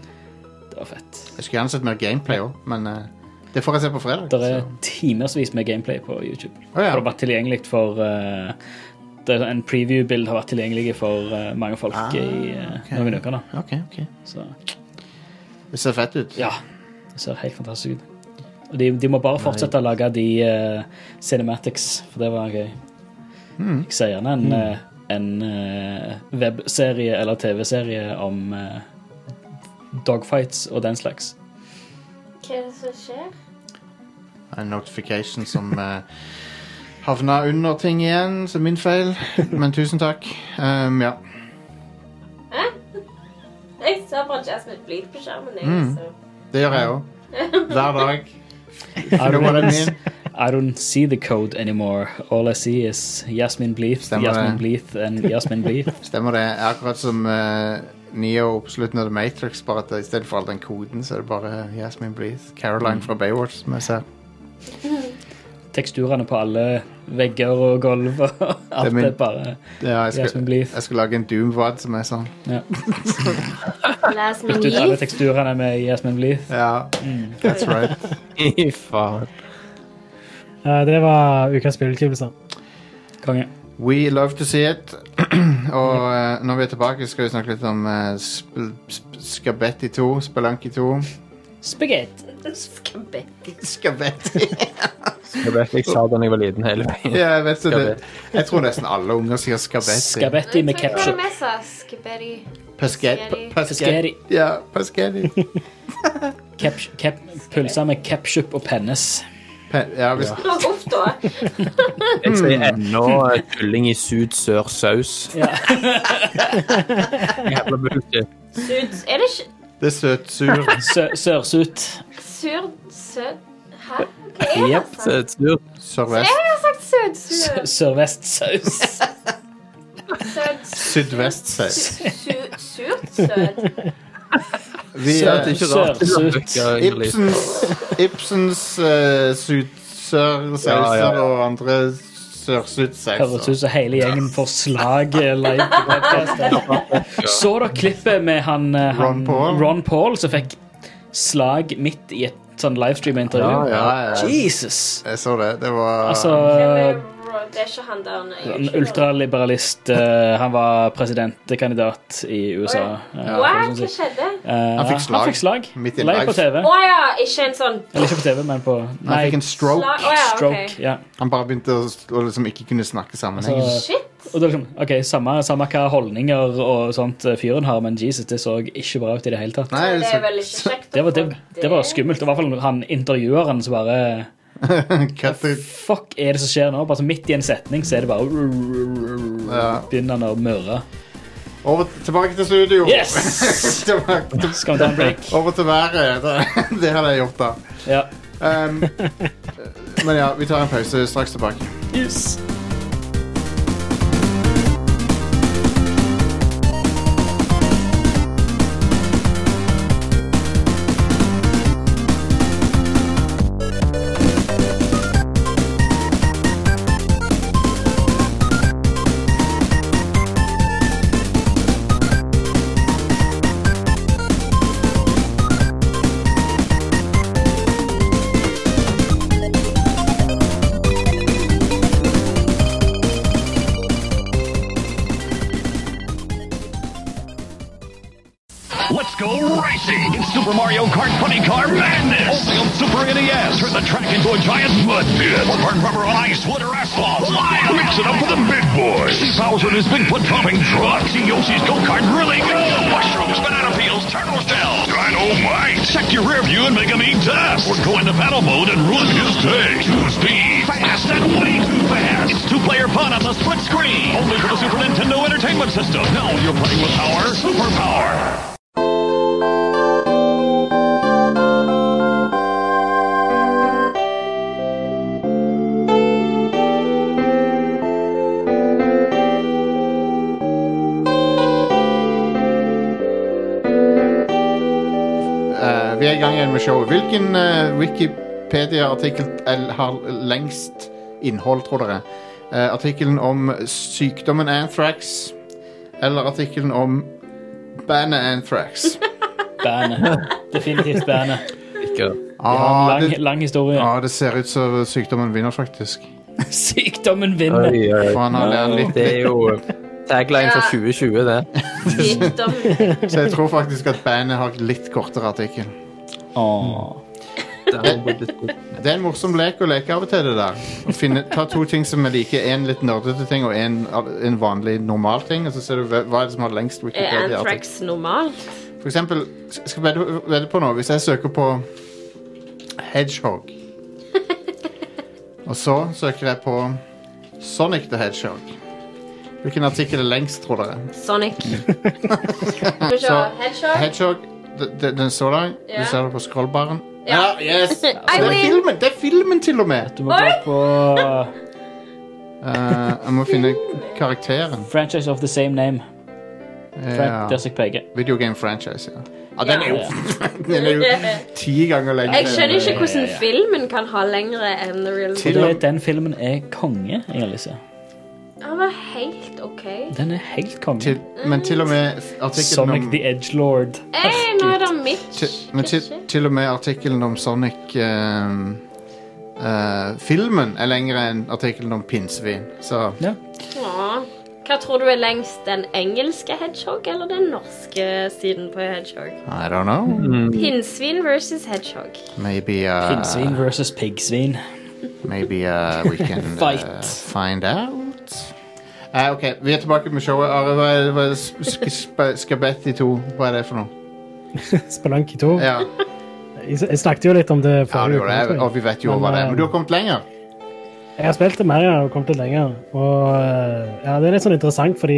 Det var fett. Jeg skulle gjerne sett mer gameplay òg, men eh, det får jeg se på fredag. Det er så. timersvis med gameplay på YouTube. Å, ja. Det har vært tilgjengelig for eh, det er En preview-bild har vært tilgjengelig for eh, mange folk i eh, Ah, ok. noen uker. da OK, ok. Så Det ser fett ut. ja, det ser helt fantastisk ut. Og de, de må bare fortsette å lage de eh, cinematics, for det var gøy. Hmm. Jeg ser gjerne en, eh, en eh, webserie eller TV-serie om eh, dogfights og den slags. Hva er det som skjer? En notification som eh, havna under ting igjen, så min feil. Men tusen takk. Um, ja. Jeg ser bare Jasmine Bleed på skjermen. Mm. Jeg, så. Det gjør jeg òg. Hver dag. I Finner don't, man den inn. I don't see the code anymore. All I see is Yasmin Bleeth, Stemmer Yasmin det. Bleeth and Yasmin Bleeth. Stemmer det. Akkurat som eh, Neo på slutten av The Matrix, bare at istedenfor all den koden, så er det bare Yasmin Bleeth. Caroline fra Baywatch, som jeg ser. Teksturene på alle vegger og gulv og alt er det min- er bare Ja, jeg Yasmin skal, Bleeth. jeg skal lage en Doom-vod som er sånn. Ja. Les min Bytt ut alle teksturene med Yasmin Bleeth. Ja, that's right. Fy faen. Eh, det var ukas spillutgivelser. Konge. We love to see it. Og eh, når vi er tilbake, skal vi snakke litt om eh, sp sp Skabetti 2. Spelanki 2. Spagett. Skabetti. Skabetti. Jeg vet jeg sa det da jeg var liten hele veien. ja, jeg vet så det. Skabetti. Jeg tror nesten alle unger sier Skabetti. Skabetti med Hva ketchup. var det vi sa? Skabetti. Pesketti. Pesceri. Ja, Pesketti. Kep- kep- Pølser med ketchup og pennes. Pe ja, hvis, Uff, da. Jeg sier ennå eh, kylling i sud sør saus. Jævla eh. bullshit. Sud Er det ikke Det er søt, sur. Sø- Sørsut. sur... Søt... Hæ? Hva er det? Jep. altså? Så et surt. Sørvest. Jeg har sagt søt... Sø- Søt... Sørvestsaus. søt- Sydvest, sier jeg. su- su- Surt søt. Vi eh, Søt, er ikke rart. Sørsut. Ibsens, Ibsens eh, syd- Ja, ja, sørsauser ja. og andre Høres ut sørsudsauser. som hele gjengen får slag eh, live på podcasten. Så dere klippet med han, eh, han Ron Paul? Ron Paul som fikk slag midt i et sånn Ja, livestream-intervju? ja, ja. Jesus! Jeg så det. Det var Altså Hvem er Ro- Det er ikke han der nei, jeg er en ikke- ultraliberalist. eh, Han var presidentkandidat i USA. eh, for å What? sånn Hva si. skjedde? Eh, Han fikk slag. fikk slag. Midt i en Live på live. TV. Å ja, ikke en sånn Eller ikke på TV, men på Han Nei, fikk en stroke. slag. Å ja, stroke. ok. Ja. Han bare begynte å å liksom ikke kunne snakke sammenheng. Så- Shit. Og det er liksom, ok, samme, samme hva holdninger og sånt eh, fyren har, men Jesus, det så ikke bra ut i det hele tatt. Nei, Det så er vel ikke kjekt. altså- Det var, å det, få det var skummelt. Det var i hvert fall han intervjueren som bare cut it. Fuck, er det som skjer nå? Bare så midt i en setning så er det bare Ja. Begynner han å møre. Over, tilbake til studio. Yes! Tilbake til- Skal vi ta en break? Over til været. Det, det hadde jeg gjort da. Ja. Um, men ja, vi tar en pause. Straks tilbake. Yes. Let's go racing in Super Mario Kart Funny Car Madness. Only on Super NES. Turn the track into a giant mud pit. Or burn rubber on ice, wood, or asphalt. Wild. Mix it up with the big boys. See Bowser and his Bigfoot pumping truck. See Yoshi's go-kart really go. Mushrooms, banana peels, turtle shells. Dynamite. Check your rear view and make him eat dust. Or go into battle mode and ruin his day. Too speed. Fast and way too fast. It's two-player fun on the split screen. Only for the Super Nintendo Entertainment System. Now you're playing with our superpower. Eh, vi er i gang igjen med showet. Hvilken eh, Wikipedia-artikkel el- har lengst innhold, tror dere? Eh, artikkelen om sykdommen anthrax eller artikkelen om bandet anthrax? Bandet. Definitivt bandet. Ikke. Ah, Lang, det, lang historie. ah, det ser ut som sykdommen vinner, faktisk. Sykdommen vinner. Oi, oi, For han har lært oi. litt. Det er jo eh, tagline fra 2020, det. Sykdom. Så jeg tror faktisk at bandet har litt kortere artikkel. Åh. Det er en morsom lek å leke av og til, det der. Å Finne, ta to ting som er like. En litt nerdete ting og en, en vanlig normal ting. Og så ser du hva hva er det som har lengst Er Wikipedia-artikkel. anthrax normalt? For eksempel, sk- skal jeg vedde- vedde på noe. Hvis jeg søker på Hedgehog Og så søker jeg på Sonic the Hedgehog. Hvilken artikkel er lengst, tror dere? Sonic. Skal vi se. Så- Headshot. Hedgehog, d- d- den så der. Ja. Du ser det på scrollbaren. Ja. Ja, yes! Det I er win. filmen, det er filmen til og med! Du må gå på Eh, jeg må finne karakteren. Franchise of the same name. Ja. Frank Dersick Pege. Videogame franchise, ja. Ja, den er jo, Ja. den er jo ti ganger lengre. Jeg skjønner enn- ikke hvordan ja, ja. filmen kan ha lengre enn the real Til- Og det, er- den filmen er konge, Elise. Han var helt OK. Den er helt konge. til, Men til og med artikkelen Sonic om the Edgelord. Hey, nå er det Mitch. til, men til, Kanskje? til og med artikkelen om Sonic ehm, eh, Filmen er lengre enn artikkelen om pinnsvin. Så Ja. Åh. Hva tror du er lengst? Den engelske hedgehog eller den norske siden på hedgehog? I don't know. Pinnsvin versus hedgehog. Maybe, uh, Pinnsvin Ah. versus piggsvin. maybe uh, we can uh, Fight. find out. Eh, OK, vi er tilbake med showet. Are, hva er, hva er sk sk Skabetti 2? Hva er det for noe? Spelunky 2. Ja. Jeg s- jeg snakket jo litt om det Ja, det forrige gjorde det. tror Og vi vet jo Men, hva det er. Men du har eh, kommet lenger. Jeg har spilt det mer ja, og kommet litt lenger. Og eh, ja, det er litt sånn interessant fordi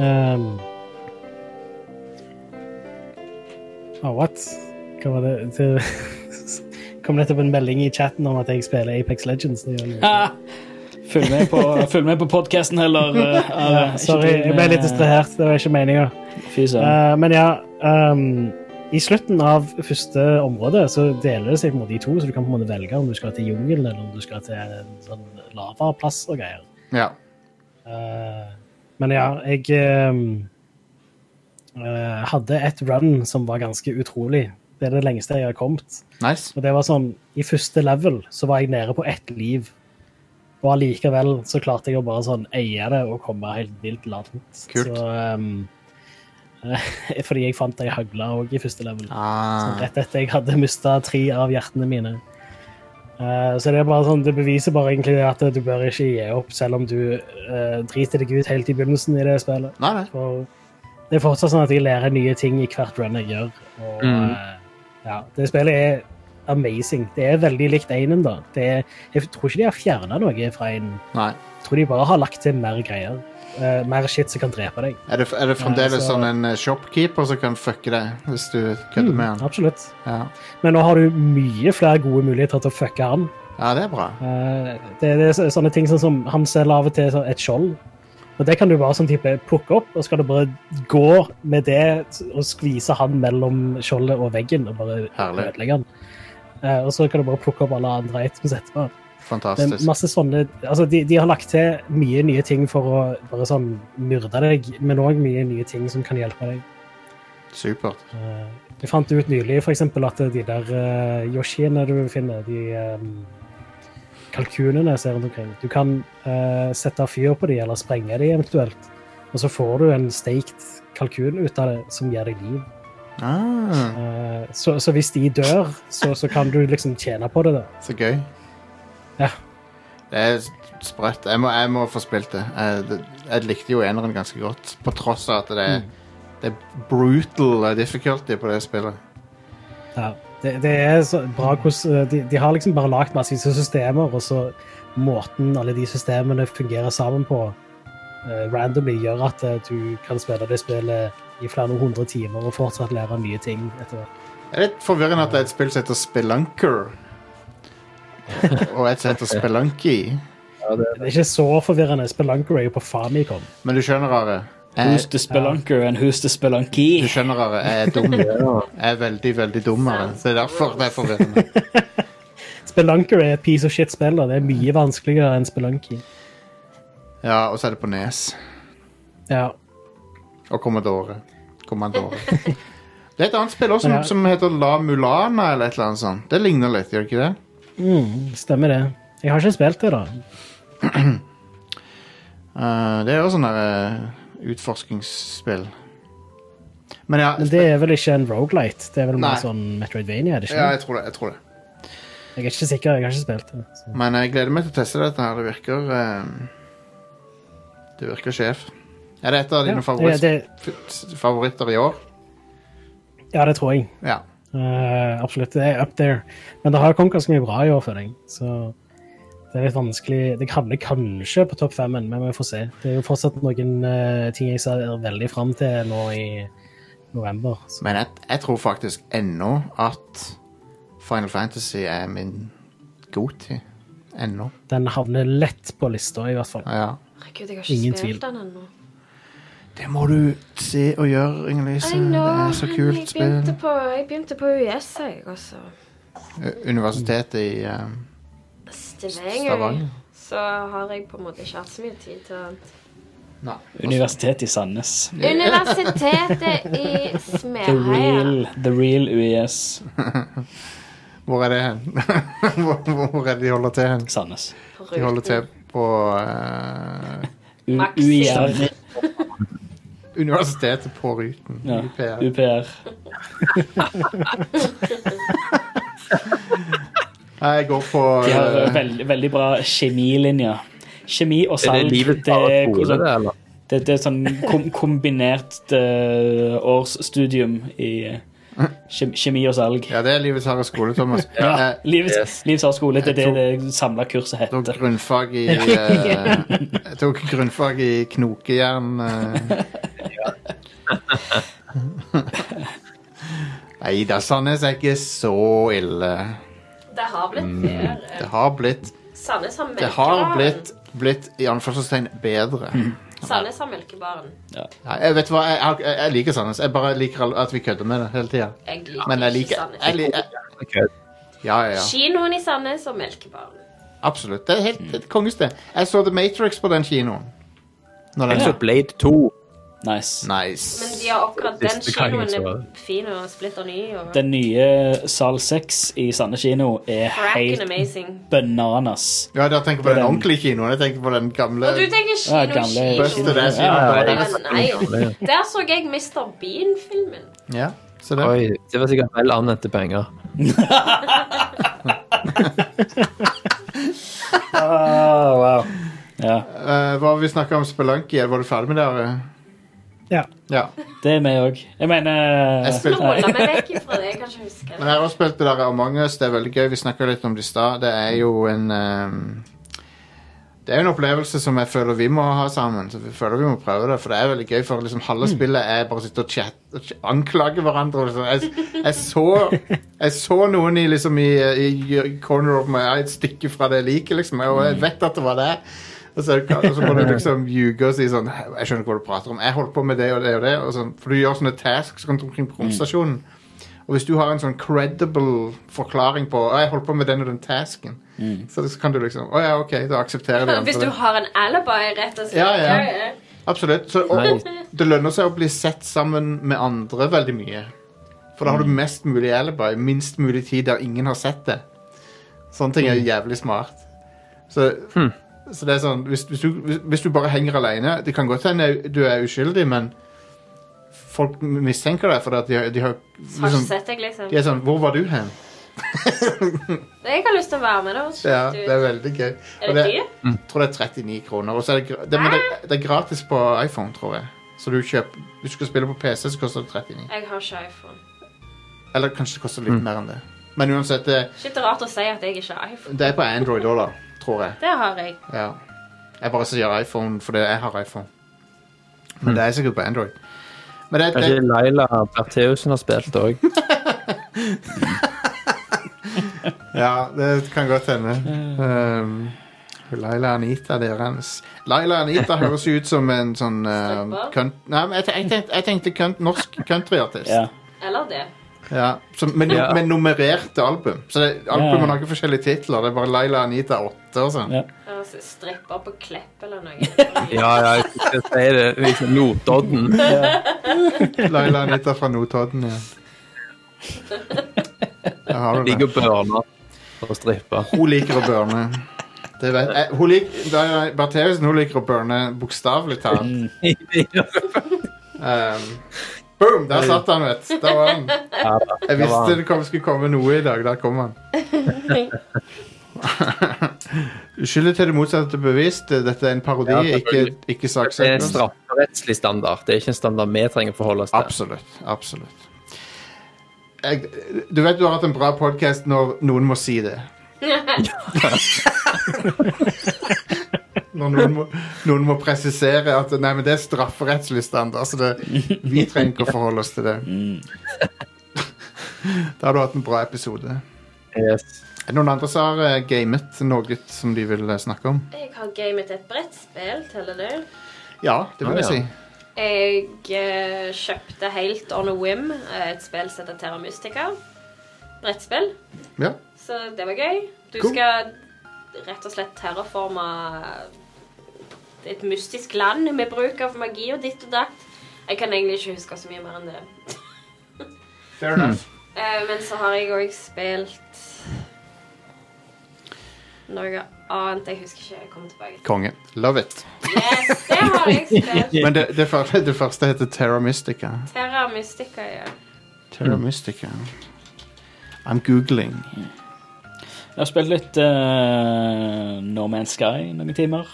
ehm, Oh, what? Hva var det? det kom nettopp en melding i chatten om at jeg spiller Apex Legends. Det gjør jeg jo. Ah, følg med på, følg med på podkasten heller. eh, Are. Ikke eh, Sorry, driv jeg ble med litt distrahert. Det var ikke meninga. Fy søren. Eh, men ja ehm, I slutten av første område så deler det seg på en måte i to, så du kan på en måte velge om du skal til jungelen eller om du skal til en sånn lavaplass og greier. Ja. Eh, men ja, jeg ehm, eh, hadde et run som var ganske utrolig. Det er det lengste jeg har kommet. Nice. Og det var sånn, I første level så var jeg nede på ett liv. Og allikevel så klarte jeg å bare sånn eie det og komme helt vilt langt. Kult. Så, ehm, fordi jeg fant ei hagle òg i første level. Ah, Sånn rett etter jeg hadde mista tre av hjertene mine. Eh, så det er bare sånn, det beviser bare egentlig det at du bør ikke gi opp, selv om du eh, driter deg ut helt i begynnelsen i det spillet. nei, nei. For det er fortsatt sånn at jeg lærer nye ting i hvert run jeg gjør. Og, Mm. eh, ja, det spillet er amazing. Det er veldig likt Einen, da. Det er, jeg tror ikke de har fjerna noe fra Einen. nei. Jeg tror de bare har lagt til mer greier. Eh, mer shit som kan drepe deg. Er det, er det fremdeles så- sånn en eh, shopkeeper som kan fucke deg hvis du kødder Mm, med han? Absolutt. Ja. Men nå har du mye flere gode muligheter til å fucke han. ja, det er bra. Eh, det, det er så- sånne ting sånn som han selger av og til sånn et skjold. Og det kan du bare sånn type plukke opp, og så kan du bare gå med det og skvise han mellom skjoldet og veggen og bare Herlig. ødelegge han. Eh, og så kan du bare plukke opp alle andre items etterpå. Det er Fantastisk. masse sånne, altså de, de har lagt til mye nye ting for å bare sånn myrde deg, men òg mye nye ting som kan hjelpe deg. Supert. Eh, Jeg fant ut nylig for eksempel at de der eh, Yoshiene du finner, de eh, kalkunene jeg ser rundt omkring, du kan eh, sette fyr på de eller sprenge de eventuelt, og så får du en steikt kalkun ut av det som gir deg liv. Ah, Eh, så, så hvis de dør, så, så kan du liksom tjene på det da. så gøy. Ja. Det er s- sprøtt. Jeg må, jeg må få spilt det. Jeg, det- jeg likte jo eneren ganske godt, på tross av at det Mm. er, det er brutal difficulty på det spillet. Ja, det, det er så bra hvordan de, de har liksom bare lagt masse systemer, og så måten alle de systemene fungerer sammen på, eh, randomly gjør at eh, du kan spille det spillet i flere hundre timer og fortsatt lære nye ting etter hvert. Det er litt forvirrende at det er et spill som heter Spelunker. Og et som heter Spelunky. Det er ikke så forvirrende. Spelunker er jo på Famicom. Men du skjønner, Are. Eh, Who's Jeg, the spelunker and who's the spelunky? du skjønner, Are. Jeg er dum. Jeg er veldig, veldig dum. Are. Så det er derfor det er forvirrende. Spelunker er et piece of shit-spill, og det er mye vanskeligere enn Spelunky. Ja, og så er det på nes. Ja. Og Commodore. Commodore. Det er et annet spill også, Men ja. som heter La Mulana eller et eller annet sånt. Det ligner litt, gjør det ikke det? Mm, stemmer det. Jeg har ikke spilt det, da. Eh, det er jo sånn der eh, utforskingsspill. Men ja, Men det er vel ikke en roguelite Det er vel Nei. mer sånn Metroidvania? er det ikke? ja jeg, tror det, jeg tror det. Jeg er ikke sikker. Jeg har ikke spilt det. Så. Men jeg gleder meg til å teste dette her. Det virker eh, Det virker sjef. Er det et av dine Ja, favoritt, det- f- favoritter i år? Ja, det tror jeg. Ja. Eh, absolutt. Det er up there. Men det har kommet ganske mye bra i år, føler jeg. Så det er litt vanskelig. Det havner kanskje på topp femmen, men vi får se. Det er jo fortsatt noen eh, ting jeg ser veldig fram til nå i november. Så. Men jeg, jeg tror faktisk ennå at Final Fantasy er min godtid. Ennå. Den havner lett på lista, i hvert fall. Ja. Herregud, jeg har Ingen ikke tvil. spilt den ennå. Det må du se og gjøre, Inger-Lise. I Det know, er så men kult Jeg begynte spill. på, jeg begynte på US, jeg, altså. og så U- Universitetet i eh, Stavanger. Stavanger. Så har jeg på en måte ikke hatt så mye tid til annet. Nei. Universitetet i Sandnes. Universitetet i The Smeheia. real, the real E UiS Hvor er det hen? hvor, hvor- hvor er det de holder til hen? Sandnes. på De holder Ruten. til på eh, U- E Maxi. UiR. Universitetet på Ruten. Ja. UPR. UPR. Nei, Jeg går på De har eh, veld, veldig bra kjemilinje. Kjemi og Er det salg. livet det bare er skole, det, sånn- eller? det, det er sånn kom, kombinert eh, årsstudium i Kjem- Kjemi og salg. Ja, det er livets harde skole, Thomas. Ja, Eh, Livets Yes. livets avskole, det er Jeg det det samla kurset Jeg tok heter. grunnfag i eh, Jeg tok grunnfag i knokejern. eh. Nei da, Sandnes er ikke så ille. Det har blitt bedre. Det har blitt Sandnes har Mm. Det har melkebaren. blitt, blitt i anførselstegn bedre. Sandnes har melkebaren. Nei, jeg vet hva, jeg, har- jeg, jeg liker Sandnes. Jeg bare liker al- at vi kødder med det hele tida. Jeg liker Men jeg ikke liker Sandnes. jeg, li- jeg, Ok. Ja, ja, ja. Kinoen i Sandnes og melkebaren. Absolutt. Det er helt et kongested. Jeg så The Matrix på den kinoen. Når den Jeg så så Altså, Blade 2. Nice. Men Nice. de har akkurat den Siste gangen kinoen så var er det. fin og splitter ny. Og Den nye Sal 6 i Sande kino er Fracking helt amazing. bananas. Ja, da tenker jeg på den Den- ordentlige kinoen. Jeg tenker på den gamle Og du tenker Ja, kino, gamle Buster kino. kino. Dash. Ja, Ja, Ja, ja, nei. Der så jeg Mr. Bean-filmen. ja. Så det. Oi, det var sikkert vel anvendte penger. Ja, Eh, hva har vi snakka om Spelunky? Var du ferdig med det? Are? Ja. Ja. det er meg òg. Jeg mener Jeg Nå spilte, holder meg vekk fra det, jeg kan ikke huske men det. jeg har også spilt med dere Among us. Det er veldig gøy. Vi snakka litt om det i stad. Det er jo en ehm, Det er jo en opplevelse som jeg føler vi må ha sammen. Så vi føler vi må prøve det, For det er veldig gøy. For liksom halve spillet er bare å sitte og chat, og ch- anklage hverandre. og Liksom. Jeg, jeg, så, jeg så noen i, liksom, i, i corner of my eye et stykke fra det liket, liksom. Og jeg vet at det var det. Og så, og så må du liksom ljuge og si sånn Jeg skjønner ikke hva du prater om. Jeg holdt på med det og det og det. Og sånn, for du gjør sånne tasks rundt omkring på romstasjonen. Og hvis du har en sånn credible forklaring på «Å, jeg holdt på med den og den tasken, så så kan du liksom Å ja, OK, da aksepterer vi den. Hvis for du det». har en alibi, rett og Ja, slett. ja. ja. Absolutt. Så, og, og det lønner seg å bli sett sammen med andre veldig mye. For da har du mest mulig alibi, minst mulig tid der ingen har sett det. Sånne ting er jævlig smart. Så, så det er sånn hvis, hvis, du, hvis, hvis du bare henger alene Det kan godt hende du er uskyldig, men folk mistenker deg fordi at de, har- de har Har ikke liksom, sett deg, liksom. De er sånn Hvor var du hen? Jeg har lyst til å være med, da. Ja, Shit, det er veldig gøy. Er det dyrt? Ah. Jeg tror det er 39 kroner. Og så er det, gra- det, men det, det er gratis på iPhone, tror jeg. Så du kjøper, hvis du skal spille på PC, så koster det 39. Jeg har ikke iPhone. Eller kanskje det koster litt mer enn det. Men uansett, det, Shit, det er rart å si at jeg ikke har iPhone. det er på Android òg, da. Tror jeg. Det har jeg. Ja. Jeg bare sier iPhone fordi jeg har iPhone. Men det er sikkert på Android. Men det, det, Kanskje Laila Bertheussen har spilt òg. Ja, det kan godt hende. Um, Laila Anita, det er hennes. Laila Anita høres jo ut som en sånn um, Stripper? kønt, Nei, men jeg tenkte, jeg tenkte, jeg tenkte kønt, norsk countryartist. Ja. Eller det. Ja, som, men, Ja. men nummererte album. Så det, albumen Ja. har ikke forskjellige titler. Det er bare Laila Anita 8 og sånn. Ja. Eller så Stripper på Klepp eller noe. Ja, ja, jeg skal si det. Liksom Notodden. Laila Anita fra Notodden, ja. Der har du Ligger det. og børner og stripper. Hun liker å burne. Det vet, jeg, hun lik, Laila Bertheussen hun liker å burne bokstavelig talt. Um, boom! Der satt han, vet du. Der var han. Ja, da. Jeg Der var visste han. det kom, skulle komme noe i dag. Der kom han. Uskyldig til det motsatte bevist. Dette er en parodi, Ja, selvfølgelig. ikke, ikke Det er en saksøkelse. strafferettslig standard. Det er ikke en standard vi trenger å forholde oss til. Absolutt. Absolutt. Jeg, du vet du har hatt en bra podkast når noen må si det. Når noen må, noen må presisere at Nei, men det er strafferettslig standard, så det, vi trenger ikke å forholde oss til det. Da har du hatt en bra episode. Yes. Er det noen andre som har eh, gamet noe som de vil eh, snakke om? Jeg har gamet et brettspill, teller det? Ja, det vil Ah, jeg ja. si. Jeg eh, kjøpte helt on a whim eh, et spill som heter Terra Mystica. Brettspill. Ja. Så det var gøy. Du Cool. skal rett og slett terraforme et mystisk land med bruk av magi og ditt og datt. Jeg kan egentlig ikke huske så mye mer enn det. Fair enough. Eh, men så har jeg òg spilt noe annet. Jeg husker ikke. Jeg kommer tilbake. til Konge. Love it. det. Yes, det har jeg spilt. Men det, det, første, det første heter Terra Mystica. Terra Mystica, ja. Terra Mystica. I'm googling. Jeg har spilt litt eh, No Man's Sky noen timer.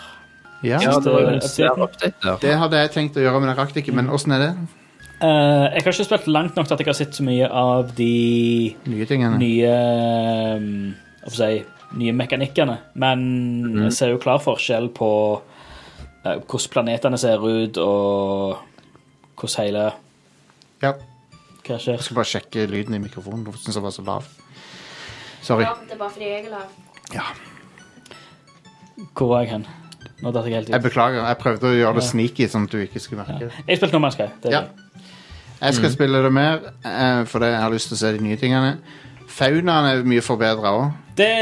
Ja. Ja, det var jo en svær update der. Det hadde jeg tenkt å gjøre, men jeg rakk det ikke. Men åssen er det? Eh, jeg har ikke spilt langt nok til at jeg har sett så mye av de Nye tingene. nye um, Hva skal jeg si Nye mekanikkene. Men Mm. jeg ser jo klar forskjell på eh, hvordan planetene ser ut, og hvordan hele Ja. Hva Jeg skjer? skal bare sjekke lyden i mikrofonen. Hvorfor syns jeg den var så lav? Sorry. Ja, det er bare fordi jeg er lav. Ja. Hvor var jeg hen? Nå datt jeg helt Jeg ut. beklager. Jeg prøvde å gjøre det Ja. sneaky, sånn at du ikke skulle merke det. Jeg spilte noe man skal. Det er Ja. Jeg skal spille det mer, eh, fordi jeg har lyst til å se de nye tingene. Faunaen er mye forbedra òg. gøy.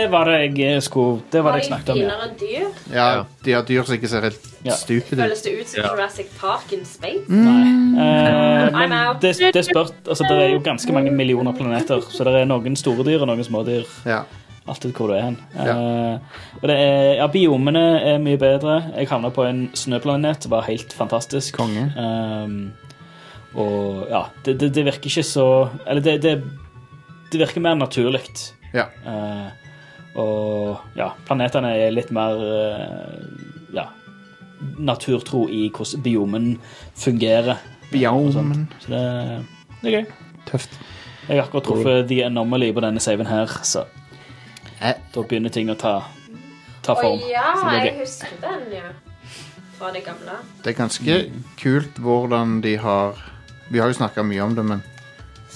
det var det jeg skulle Det var det jeg snakket om. Ja. Mm. finere enn dyr? Ja, Ja. de har dyr som ikke ser helt Ja. stupide ut. Føles det ut som Ja. Jurassic Park in space? Eh, Mm, men I'm out. det, det, spørt, altså, det er jo ganske mange millioner planeter, så det er noen store dyr og noen små dyr. Ja. Alltid hvor du er hen. Eh, og det er, ja, biomene er mye bedre. Jeg havna på en snøplanet. Det var helt fantastisk. Konge. Ehm, og ja, det, det, det virker ikke så Eller det, det, det virker mer naturlig. ja. Eh, og ja, planetene er litt mer eh, ja, naturtro i hvordan biomen fungerer. og sånt. Bjaumen. Så det, det er gøy. Tøft. Jeg har akkurat truffet The Anomaly på denne saven her, så Eh. da begynner ting å ta, ta Å form. ja, så det jeg er gøy. husker den, ja. Fra det gamle. Det er ganske kult hvordan de har Vi har jo snakka mye om det, men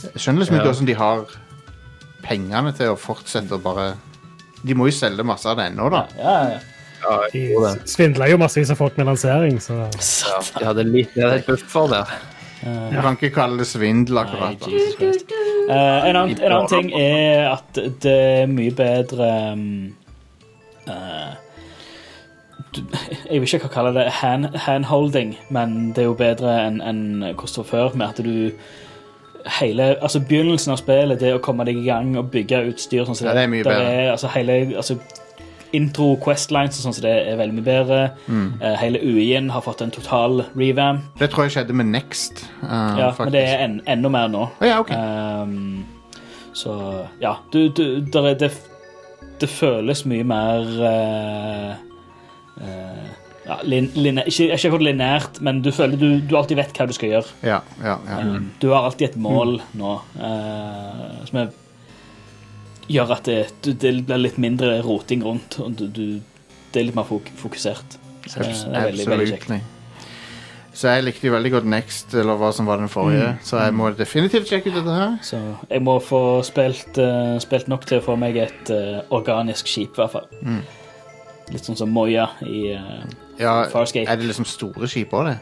jeg skjønner liksom ikke Ja. hvordan de har pengene til å fortsette å bare De må jo selge masse av det ennå, da. Ja, ja. Ja, De jeg tror det. svindla jo massevis av folk med lansering, så Ja, de hadde litt de hadde et buffer der. Du kan ikke kalle det svindel, akkurat. Nei, Jesus Christ. Eh, en, annen, en annen ting er at det er mye bedre um, eh, du- Jeg vil ikke kalle det hand, handholding, men det er jo bedre enn enn hvordan det var før, med at du Hele, altså Begynnelsen av spillet det er å komme deg i gang og bygge utstyr. Sånn som Ja, det er mye der bedre. Er, altså, hele, altså, intro questlines og sånn som det er veldig mye bedre. Mm. Eh, hele UI-en har fått en total revamp. Det tror jeg skjedde med Next. eh, Ja, men det faktisk. er en, enda mer nå. Å ja, ok. Ehm, så ja, du, du der er, det, det føles mye mer eh, eh, ja, lin, linæ- Ikke ikke akkurat lineært, men du føler du, du alltid vet hva du skal gjøre. Ehm, Ja, ja, ja. Du har alltid et mål nå eh, som er, gjør at det, du- det blir litt mindre roting rundt. Og du, du, det er litt mer fok fokusert. Så det er veldig, veldig kjekt. Absolutely. Så jeg likte jo veldig godt Next, eller hva som var den forrige, Mm. så jeg må definitivt sjekke ut dette her. Så jeg må få spilt, eh, spilt nok til å få meg et eh, organisk skip, i hvert fall. Mm. Litt sånn som Moya i eh, Ja, Farscape. er det liksom store skip òg, det?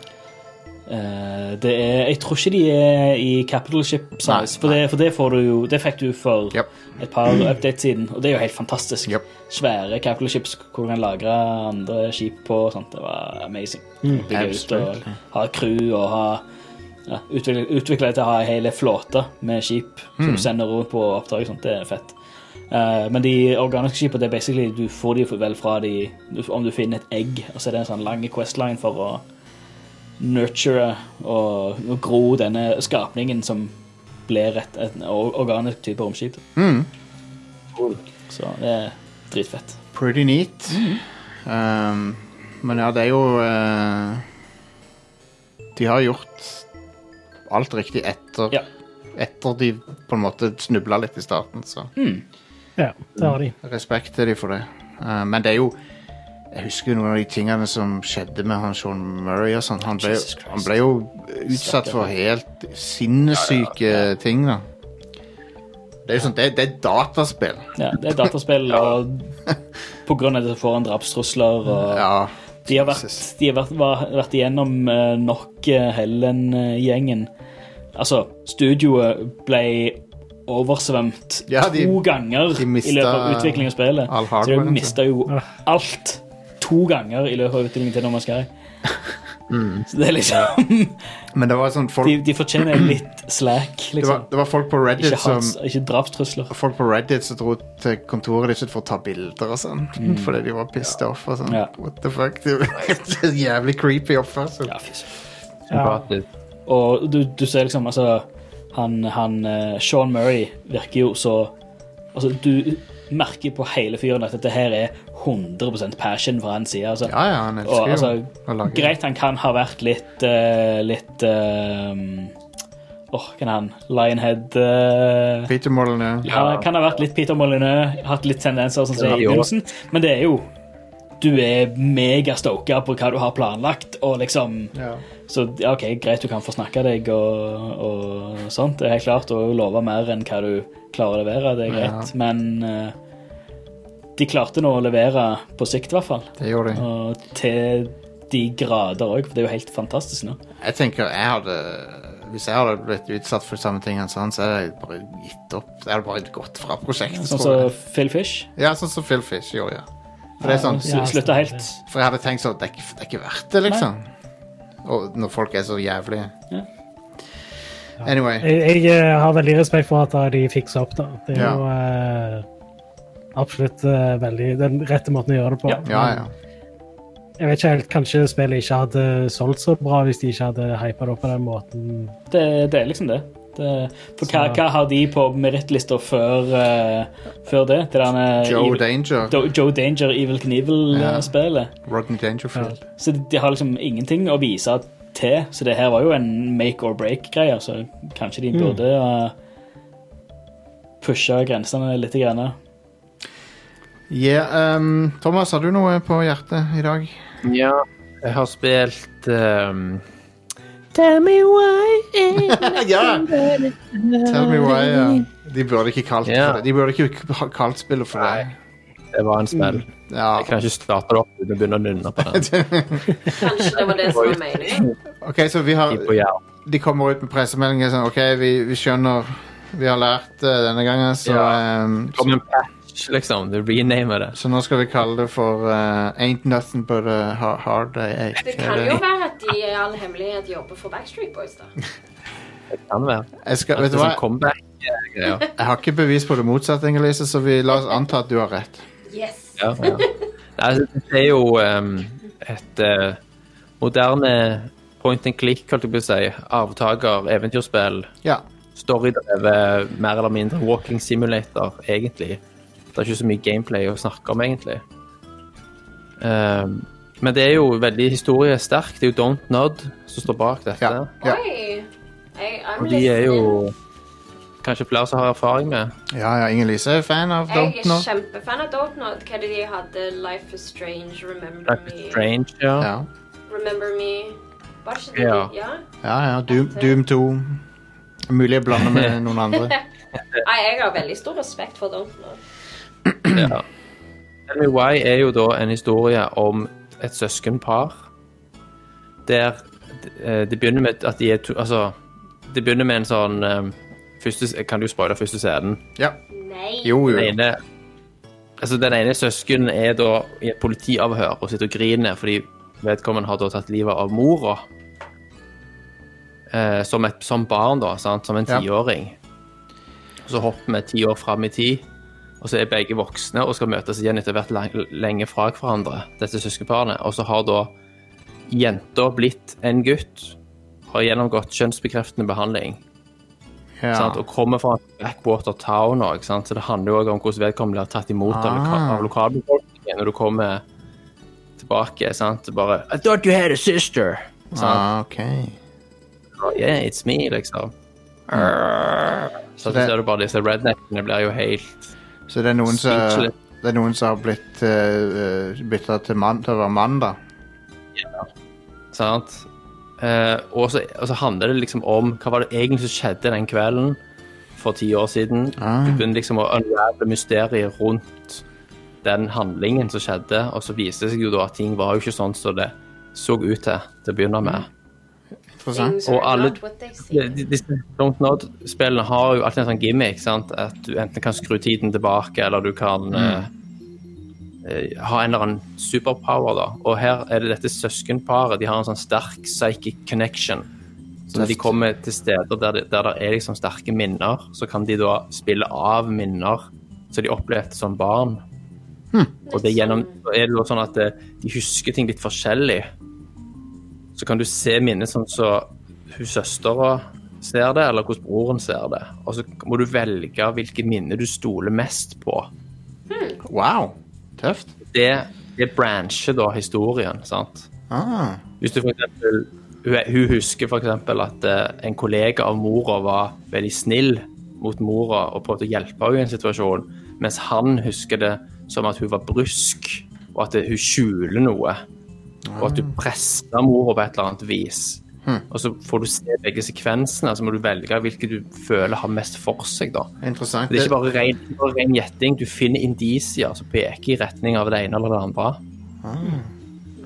eh, Det er Jeg tror ikke de er i Capital Ship Nei, Size, for det, for det får du jo Det fikk du for Japp. et par updates siden, og det er jo helt fantastisk. Japp. Svære Capital Ships hvor du kan lagre andre skip på og sånt. Det var amazing. Bygge ut og absolutely. ha crew og ha ja, utvikle, utvikle det til å ha en hel flåte med skip som du sender rundt på oppdrag. og Sånt. Det er fett. Eh, men de organiske skipene, det er basically du får de vel fra de du- Om du finner et egg, og så er det en sånn lang questline for å nurture og, og gro denne skapningen som blir et, et or- organisk type romskip. Så det er dritfett. Pretty neat. Um, men ja, det er jo eh, De har gjort alt riktig etter Ja. Etter de på en måte snubla litt i starten, så ja, det har de. respekt til de for det. Eh, men det er jo Jeg husker jo noen av de tingene som skjedde med han Sean Murray og sånn. Han, ble- Jesus Christ. han ble jo utsatt for helt sinnssyke ting, da. Det er jo sånn, det, det er dataspill. Ja, det er dataspill, og på grunn av det så får han drapstrusler og Ja. De har vært, Jesus. de har vært, var, vært igjennom eh, nok eh, Hellen-gjengen. Altså, studioet ble oversvømt Ja, de- to ganger de mista i løpet av utviklingen av spillet. all liksom. Så hardwaren de sin. mista jo alt to ganger i løpet av utviklingen til No Man's Sky. Mm. Så det er liksom Men det var sånn folk de, de fortjener litt slack, det var, liksom. det var folk på Reddit Ikke, som hats, ikke drapstrusler. Folk på Reddit som dro til kontoret ditt for å ta bilder og sånn. Fordi de var pissed off og sånn. Mm. Ja. What the fuck? Det er Jævlig creepy altså. oppførsel. Ja, fy søren. Sympatisk. Og du, du ser liksom, altså Han, han eh, Sean Murray virker jo så Altså, du merker på hele fyren at dette her er 100 passion fra hans side. Altså. Ja, ja, han elsker og, jo altså, å lage Greit han kan ha vært litt eh, Litt eh, Åh, hvem er han? Lionhead eh, Peter Molyneux. ja. Kan ha vært litt Peter Molyneux, hatt litt tendenser sånn som i Ja. begynnelsen, men det er jo Du er megastoka på hva du har planlagt, og liksom Ja. Så ja, OK, greit du kan få snakke deg og, og sånt. Det er helt klart å love mer enn hva du klarer å levere, det er greit, men eh, de klarte nå å levere på sikt, i hvert fall. Det gjorde de. Og til de grader òg, for det er jo helt fantastisk nå. Jeg tenker jeg hadde Hvis jeg hadde blitt utsatt for samme ting som han, så hadde jeg bare gitt opp. Jeg hadde bare gått fra prosjektet. Sånn tror som jeg. Phil Fish. Ja, sånn som Phil Fish gjorde, ja. For, det er sånn, Sl- Slutta helt. for jeg hadde tenkt sånn Det er ikke, det er ikke verdt det, liksom. Og når folk er så jævlige. Ja. Anyway. Jeg, jeg eh, har veldig respekt for at eh, de fikser opp, da. Det er Ja. jo eh, absolutt eh, veldig den rette måten å gjøre det på. Ja. Ja, ja. Jeg vet ikke helt, Kanskje spillet ikke hadde solgt så bra hvis de ikke hadde hypa det opp på den måten. Det, det er liksom det. det for hva, Så- hva har de på merittlista før, eh, før det? Det der med Joe Evil- Danger. Do- Joe Danger, Evil Ja. Knievel-spelet. Rodney Dangerfield. Så de har liksom ingenting å vise til, så det her var jo en make or break-greie, så kanskje de burde uh, pushe grensene litt. Grann. Ja, ehm, Thomas, har du noe på hjertet i dag? Ja. Jeg har spilt ehm, ja! Tell me why. Ja. De burde ikke kalt det Ja. for det. De burde ikke ha kalt spillet for det. Det var en spill. Ja. Jeg kan ikke starte det opp uten å begynne å nynne på den. Kanskje det var det som var meningen. OK, så vi har På hjernen. De kommer ut med pressemeldinger sånn OK, vi, vi skjønner Vi har lært det denne gangen, så, Ja. ehm, Som en patch, liksom. Du renamer det. så nå skal vi kalle det for eh, Ain't nothing but a ha- hard day eight. Det kan jo være at de i all hemmelighet jobber for Backstreet Boys, da. Det kan være. Jeg, skal, vet du Det er hva? sånn comeback-greier. jeg har ikke bevis på det motsatte, Inger-Lise, så vi la oss anta at du har rett. Yes. Ja, ja. Nei, altså, det er jo ehm, et eh, moderne point and click, holdt jeg på å si. Arvtaker, eventyrspill, Ja. storydrevet, mer eller mindre walking simulator, egentlig. Det er ikke så mye gameplay å snakke om, egentlig. Ehm, men det er jo veldig historiesterkt. Det er jo Don't Nod som står bak dette. ja, ja. Oi. Hey, I'm Og de er listening. jo kanskje flere som har erfaring med. Ja, ja, Inger-Lise er fan av Jeg Don't er nå. kjempefan av Dopenot. Hva er det de hadde? Life is Strange, Remember Life is Me Strange, ja. Ja, Remember Me. Var ikke det Ja. de? Ja. ja. ja. Doom, Doom 2. Mulig jeg blander med noen andre. Nei, jeg har veldig stor respekt for Dopenot. Ja. NUI er jo da en historie om et søskenpar der eh, det begynner med at de er to Altså, det begynner med en sånn eh, første, Kan du spoile første scenen? Ja. Nei. Jo, jo. Den ene, altså den ene søsken er da i et politiavhør og sitter og griner fordi vedkommende har da tatt livet av mora. Eh, som, et, som barn, da, sant? som en Ja. tiåring. Så hopper vi ti år fram i tid, og så er begge voksne og skal møtes igjen etter hvert lang, lenge fra hverandre, dette søskenparet. Og så har da jenta blitt en gutt, har gjennomgått kjønnsbekreftende behandling Ja. sant? og kommer fra Blackwater Town også, ikke sant? så det handler jo også om hvordan vedkommende blir tatt imot av, loka Ah. av lokalbefolkningen når du kommer tilbake. Sant? Det Bare, I thought you had a sister! Sant? Ah, OK. Og, Yeah, it's me, liksom. Så, Mm. det- så ser du bare disse redneckene blir jo helt Så det er noen som Speechless. det er noen som har blitt uh, bytta til, mann- til å være mann, da. Sant? Eh, og, så, og så handler det liksom om hva var det egentlig som skjedde den kvelden for ti år siden. Ah. Du begynner liksom å unravele mysteriet rundt den handlingen som skjedde, og så viste det seg jo da at ting var jo ikke sånn som det så ut til til å begynne med. Interessant. Things are Og alle- not what they seem. Ja, de- Disse Don't Nod-spillene har jo alltid en sånn gimmick, sant? at du enten kan skru tiden tilbake, eller du kan eh, eh, ha en eller annen superpower. da. Og her er det dette søskenparet. De har en sånn sterk psychic connection. Så når de kommer til steder der det, der det er liksom sterke minner, så kan de da spille av minner som de opplevde som barn. Og det gjennom, så er det jo sånn at eh, de husker ting litt forskjellig. Så kan du se minnet sånn så hun søstera ser det, eller hvordan broren ser det. Og så må du velge hvilket minne du stoler mest på. Wow. Tøft. Det, det brancher da historien, sant? Ah. Hvis du for eksempel hun, hun husker f.eks. at eh, en kollega av mora var veldig snill mot mora og prøvde å hjelpe henne i en situasjon, mens han husker det som at hun var brysk, og at hun skjuler noe. Og at du presser mora på et eller annet vis. Og så får du se begge sekvensene, så må du velge hvilket du føler har mest for seg, da. Interessant. Det er ikke bare ren, ikke bare ren gjetting. Du finner indisier som peker i retning av det ene eller det andre.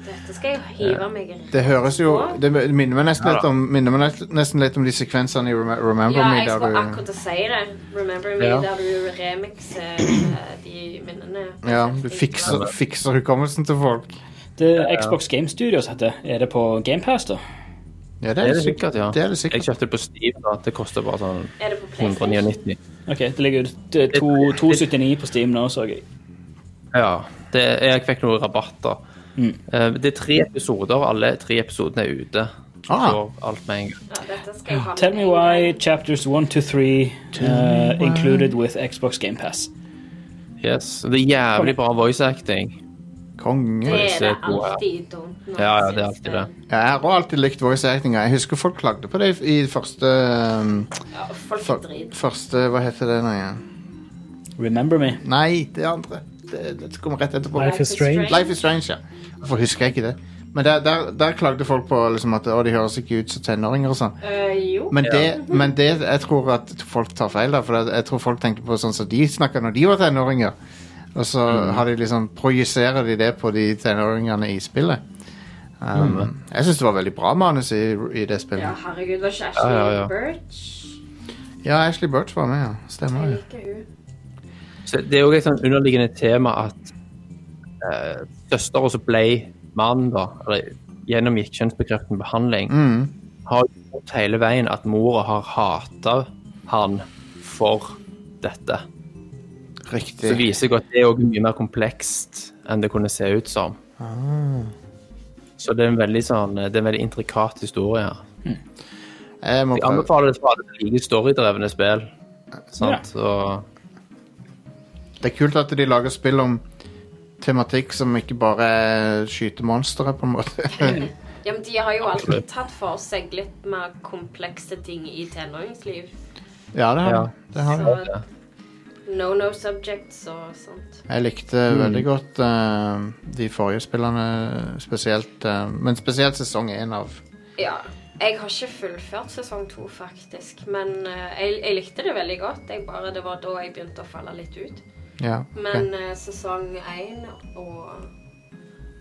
Dette skal jeg hive meg i. Det høres jo Det minner meg nesten, Ja da. litt, om, minner meg nest- nesten litt om de sekvensene i Rem- Remember Ja, Me. jeg Der skulle du, akkurat å si det. Remember me, Ja. der du remixer eh, de minnene. ja, du fikser, fikser hukommelsen til folk. Det Xbox Game Studios heter. Er det på GamePass, da? Ja, det Det er er det sikkert. sikkert, ja. Det er det sikkert. Jeg kjøpte det på Steam, da. Det koster bare sånn Er det på PlayStation? 199. OK, det ligger ut det er to- 279 på Steam nå, så jeg. Ja. Det, jeg fikk noen rabatter. Eh, Det er tre episoder. Alle tre episodene er ute. Ah. Så alt med en gang. Ja, dette skal jeg ha med Tell me en why gang. chapters 1 to 3 uh, included with Xbox Game Pass. Yes. Det er jævlig bra voice acting. Det Konge. er det alltid. Don't know, Ja, ja, det er syns alltid det. Jeg har også alltid likt voice actinga. Jeg husker folk klagde på det i, i første um, Ja, folk er fyr- drit. Første Hva heter det nå igjen? Remember me. Nei, det andre. Det, det kommer rett etterpå. Life is Strange. Life is Strange, ja. Hvorfor husker jeg ikke det? Men der, der, der klagde folk på liksom, at å, de høres ikke ut som tenåringer og sånn. Eh, jo. Men, det, men det jeg tror at folk tar feil der, for jeg tror folk tenker på sånn som de snakka når de var tenåringer. Og så har de liksom projiserer de det på de tenåringene i spillet. Um, Jeg syns det var veldig bra manus i, i det Ja, spillet. herregud, var ikke Ja, Ashley ja, ja. Birch? Ja, Ashley Birch var med, ja. Stemmer. Jeg det. liker hun. Så det er jo et sånn underliggende tema at eh, søster også ble mann, da, eller gjennomgikk kjønnsbekreftende behandling, har jo gjort hele veien at mora har hata han for dette. Så Riktig. viser det at det er også mye mer komplekst enn det kunne se ut som. Så det er en veldig sånn, det er en veldig intrikat historie. her. Jeg må Jeg prøve. anbefaler det for alle som liker storydrevne spill. Sant? Og, Det er kult at de lager spill om tematikk som ikke bare er skyte monstre, på en måte. Ja, men de har jo alltid tatt for seg litt mer komplekse ting i tenåringsliv. ja, det har de. Ja. Det har de. Så no no subjects og sånt. Jeg likte Mm. veldig godt eh, de forrige spillene, spesielt eh, Men spesielt sesong én av Ja. Jeg har ikke fullført sesong to, faktisk, men eh, jeg, jeg likte det veldig godt. Jeg bare, det var da jeg begynte å falle litt ut. Ja. ok. Men eh, sesong én og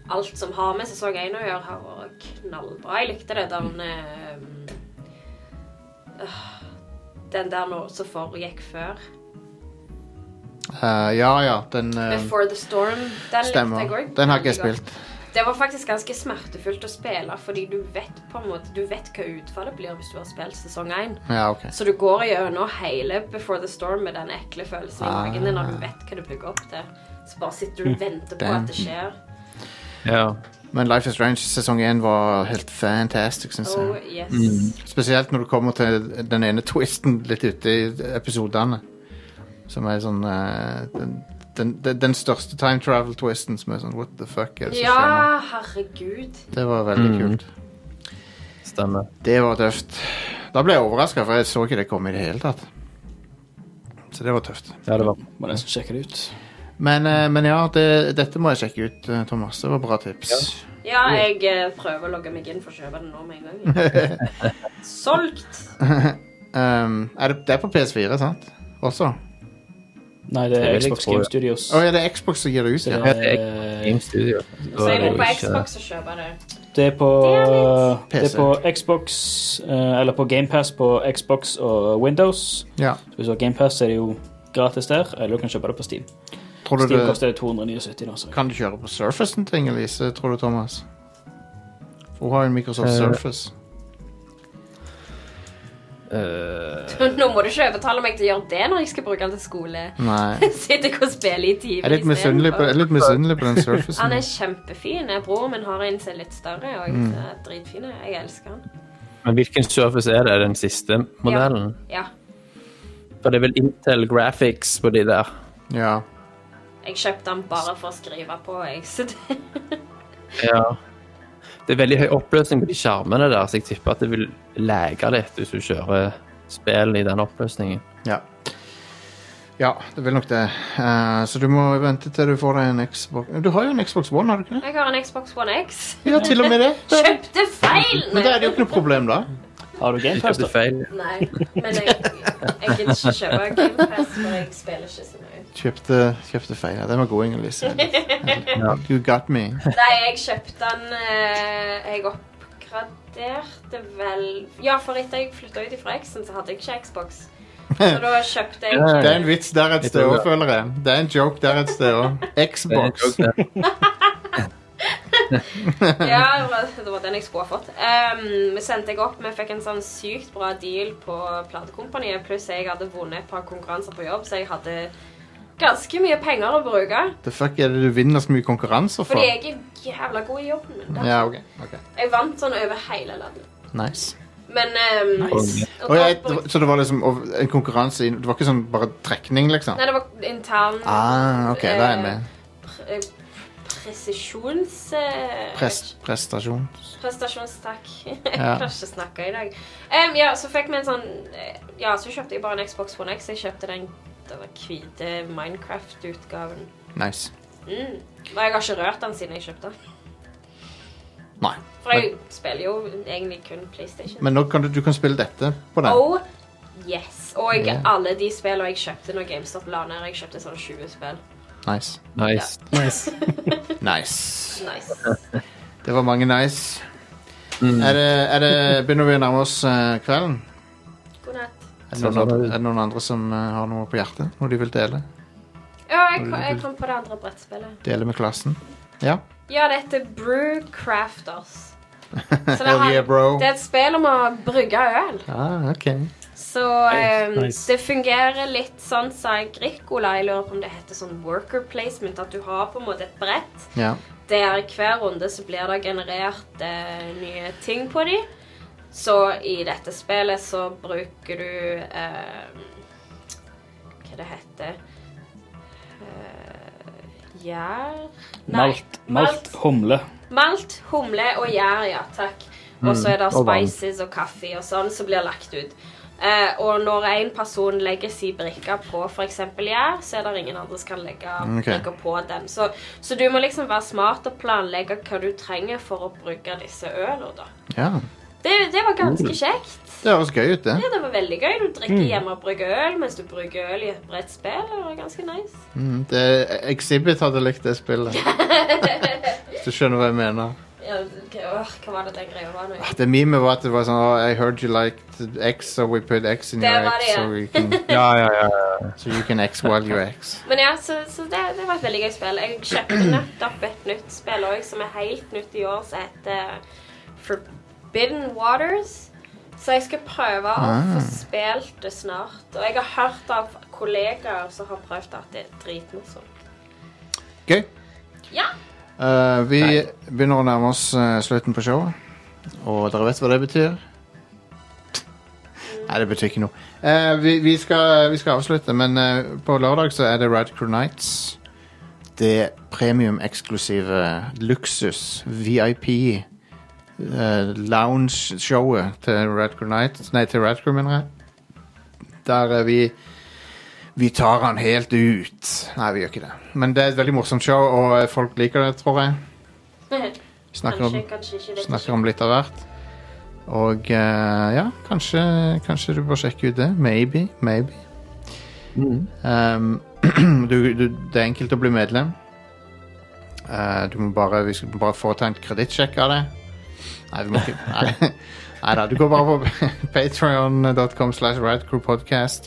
alt som har med sesong én å gjøre, har vært knallbra. Jeg likte det der eh, øh, Den der nå som foregikk før. Eh, ja, ja, den eh, Before the Storm. Den stemmer. likte jeg òg. Den har ikke jeg spilt. Det var faktisk ganske smertefullt å spille, fordi du vet på en måte Du vet hva utfallet blir hvis du har spilt sesong én. Ja, ok. Så du går gjennom hele Before the Storm med den ekle følelsen i Ah. Hm. magen din når du vet hva du bygger opp til. Så bare sitter du og venter på Damn. at det skjer. ja. Men Life is Strange sesong én var helt fantastic, syns Oh, jeg. yes. Mm. Spesielt når du kommer til den ene twisten litt ute i episodene. Som er sånn eh, den, den, den, den største time travel-twisten som er sånn What the fuck er det som skjer nå? Ja, herregud. Det var veldig kult. Stemmer. Det var tøft. Da ble jeg overraska, for jeg så ikke det komme i det hele tatt. Så det var tøft. Ja, det var Må nesten sjekke det ut. Men, eh, men ja, det, dette må jeg sjekke ut, eh, Thomas. Det var bra tips. Ja, jeg eh, prøver å logge meg inn for å kjøpe den nå med en gang. Solgt! Um, er det, det er på PS4, sant? Også? Å Nei, det er Det vil jeg Xbox tro, Game ja. Studios. eh, ja, det er Xbox som gir det ut, Det ja. er, Game Studio. Så jeg må på Ikke- Xbox og kjøpe det. det er på, Det er det litt- er på Xbox eh, Eller på GamePass på Xbox og Windows. ja. Så Hvis du har GamePass, er det jo gratis der, eller du kan kjøpe det på Steam. Tror du Steam det, koster 279 nå, så kan du kjøre på Surfacen ting, Elise, tror du, Thomas? For hun har jo en Microsoft Eh. Surface. Eh, Nå må du ikke overtale meg til å gjøre det når jeg skal bruke den til skole. Nei. Sitte og spille i Jeg er timer litt misunnelig på, jeg er litt misunnelig Mm. på den Han Surfacen. er kjempefin. Broren min har en som er litt større, og jeg er dritfin. Jeg elsker han. Men hvilken Surface er det? Er det Den siste modellen? Ja. For det er vel Intel Graphics på de der. Ja. Jeg kjøpte han bare for å skrive på, jeg. Så det Ja. Det er veldig høy oppløsning på de skjermene der, så jeg tipper at det vil lagre litt hvis du kjører spillene i den oppløsningen. Ja. Ja, det vil nok det. Eh, så du må vente til du får deg en Xbox Du har jo en Xbox One, har du ikke det? Jeg har en Xbox One X. Ja, til og med det. Da- Kjøpte feil! Men da er det jo ikke noe problem, da. Har du GamePass, Kjøpte da? feil. Nei, men jeg, jeg gidder ikke kjøpe Gamepass, for jeg spiller ikke så mye. Kjøpte, kjøpte feil. Ja, den var god, Inger-Lise. You got me. Nei, jeg kjøpte den eh, Jeg oppgraderte vel Ja, for etter jeg flytta ut ifra X-en, så hadde jeg ikke Xbox. Så da kjøpte jeg Det er en vits der et sted tror òg, det. føler jeg. Det er en joke der et sted òg. Det er en Xbox. joke, det. Ja, det var- det var den jeg skulle ha fått. Ehm, Vi sendte jeg opp, vi fikk en sånn sykt bra deal på platekompaniet, pluss jeg hadde vunnet et par konkurranser på jobb, så jeg hadde ganske mye penger å bruke. The fuck er det du vinner så mye konkurranser for? Fordi jeg er jævla god i jobben min. da. Ja, ok. ok. Jeg vant sånn over hele landet. Nice. Men ehm, Nice. og Og da jeg, det brukte- var- så det var liksom ov- en konkurranse i Det var ikke sånn bare trekning, liksom? Nei, det var intern Ah, ok, da er jeg med. pre- eh, Presisjons... eh, Prest, prestasjon. Prestasjonstakk. Jeg Ja. klarer ikke å snakke i dag. Em, ja, så fikk vi en sånn eh, Ja, så kjøpte jeg bare en Xbox One X. Jeg kjøpte den den hvite Minecraft-utgaven. Nice. Mm. Og jeg har ikke rørt den siden jeg kjøpte den. Nei. For jeg spiller jo egentlig kun PlayStation. Men nå kan du, du kan spille dette på den. oh yes. Og jeg, Ja. alle de spillene jeg kjøpte når GameStop la ned, jeg kjøpte sånn 20 spill. Nice. Nice. Nice. Nice. Nice. Det var mange nice. Er det, er det, begynner vi å nærme oss eh, kvelden? God natt. Er det, noen Sånn er andre, det. er det noen andre som eh, har noe på hjertet? Noe de vil dele? Ja, jeg, kom- jeg kom på det andre brettspillet. Dele med klassen? Ja? Ja, det heter Brew Crafters. Så det, Hell har, yeah, bro. det er et spill om å brygge øl. Ah, ok. Så ehm, nice. det fungerer litt sånn som Agricola. Jeg lurer på om det heter sånn worker placement. At du har på en måte et brett Ja. der hver runde så blir det generert eh, nye ting på de. Så i dette spillet så bruker du ehm, Hva det heter Eh, Gjær? Nei, Malt, malt humle. Malt, humle og gjær, ja, takk. Og så er det Mm, og vann. spices og kaffe og sånn som blir lagt ut. Eh, og når en person legger si brikke på f.eks. gjær, så er det ingen andre som kan legge Mm, Ok. brikker på dem. Så, så du må liksom være smart og planlegge hva du trenger for å bruke disse ølene, da. ja. Det, det var ganske Mm. kjekt. Det høres gøy ut, det. Ja, det var veldig gøy. Du drikker hjemme og brygger øl mens du brygger øl i et bredt spill. Det var ganske nice. Mm, det Exhibit hadde likt det spillet. Hvis du skjønner hva jeg mener. Ja, ok, åh, hva var det den greia var nå? Det mime var at det var sånn oh, I heard you liked X, so we put X in Det your var X, det, ja. so, you can, Ja, ja, ja. so you can X while you X. Men ja, så, så det, det var et veldig gøy spill. Jeg kjøpte nettopp et nytt spill òg, som er helt nytt i år, som heter eh, Forbidden Waters. Så jeg skal prøve å Ah. få spilt det snart. Og jeg har hørt av kollegaer som har prøvd at det er dritmorsomt. Gøy. Ja. Eh, vi begynner å nærme oss eh, slutten på showet. Og dere vet hva det betyr? Nei, det betyr ikke noe. Eh, vi, vi, skal, vi skal avslutte, men eh, på lørdag så er det Rad Crew Nights. Det premium-eksklusive luksus VIP eh, lounge-showet til Rad Crew Nights. Nei, til Rad Crew, mener jeg. Der eh, vi vi tar han helt ut. Nei, vi gjør ikke det. Men det er et veldig morsomt show, og eh, folk liker det, tror jeg. Vi Snakker om, Kanskje, kanskje ikke. Vet snakker ikke. om litt av hvert. Og eh, ja, kanskje, kanskje du bør sjekke ut det. Maybe. Maybe. Um, du, du, det er enkelt å bli medlem. Eh, du må bare, vi skal bare foreta en kredittsjekk av det. Nei, vi må ikke Nei, nei da. Du går bare på patreon.com slash radcrewpodcast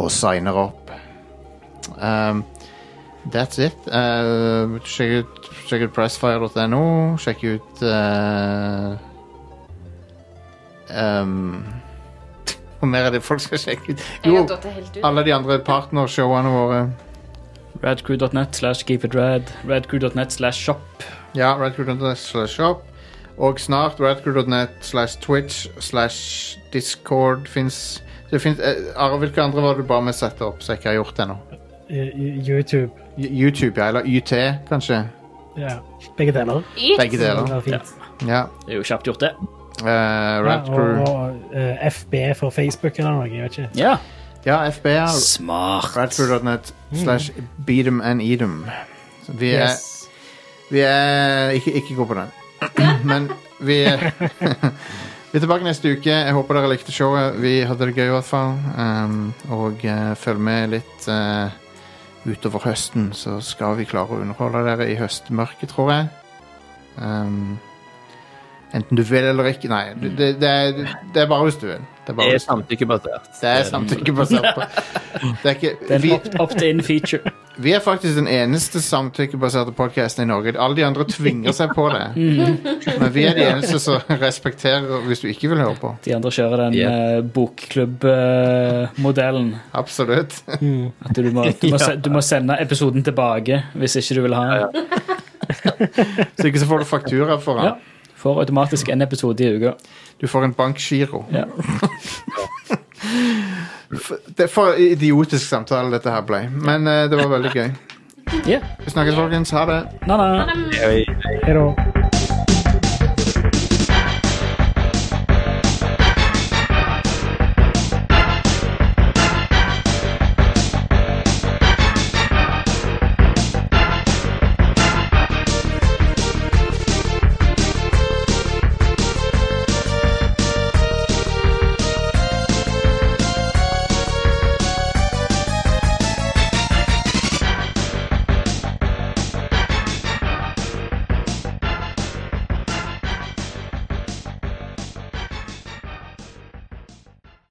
og signer opp. Um, that's it. Eh, sjekk ut, sjekk ut pressfire.no. Sjekk ut eh, um, Hvor mer er det folk skal sjekke ut? Jeg har datt helt ut. Alle de andre partnershowene våre. Radcrew.net slash keep it rad. Radcrew.net slash shop. Ja, radcrew.net slash shop. Og snart radcrew.net slash Twitch slash Discord fins Det fins eh, Are, hvilke andre var det du ba meg sette opp som jeg ikke har gjort ennå? Y- y- YouTube. Y- YouTube, ja. Eller YT, kanskje. Ja. Begge deler. Yt! Begge Det deler. var fint. Ja. Det er jo kjapt gjort, det. Eh, Rad Crew. og, og eh, FB for Facebook eller noe, jeg vet ikke. Ja. Ja, FBA. Smart. Radcrew.net slash beat 'em and eat 'em. Så Vi er, Mm. Yes. vi er ikke, ikke gå på den. Men vi er, vi er tilbake neste uke. Jeg håper dere likte showet. Vi hadde det gøy, i hvert fall. Um, og eh, følg med litt eh, utover høsten, så skal vi klare å underholde dere i høstmørket, tror jeg. Um, enten du vil eller ikke. Nei, du- det, det, er, det er bare hvis du vil. Det er bare Det er hvis du vil. samtykkebasert. Det er samtykkebasert på. Det er ikke, Det er vi, en opt- opt-in feature. vi er faktisk den eneste samtykkebaserte podkasten i Norge. Alle de andre tvinger seg på det. Men vi er de eneste som respekterer hvis du ikke vil høre på. De andre kjører den eh, Ja. yeah. bokklubbmodellen. Absolutt. At du må, du, må, se- du må sende episoden tilbake hvis ikke du vil ha den. Så ikke så får du faktura for Ja. den. Får automatisk en episode i uka. Du får en bankgiro. Ja. Det er for idiotisk samtale dette her ble. Men eh, det var veldig gøy. Yeah. Vi snakkes, folkens. Ha det. Na, na. Jeg- Hei da.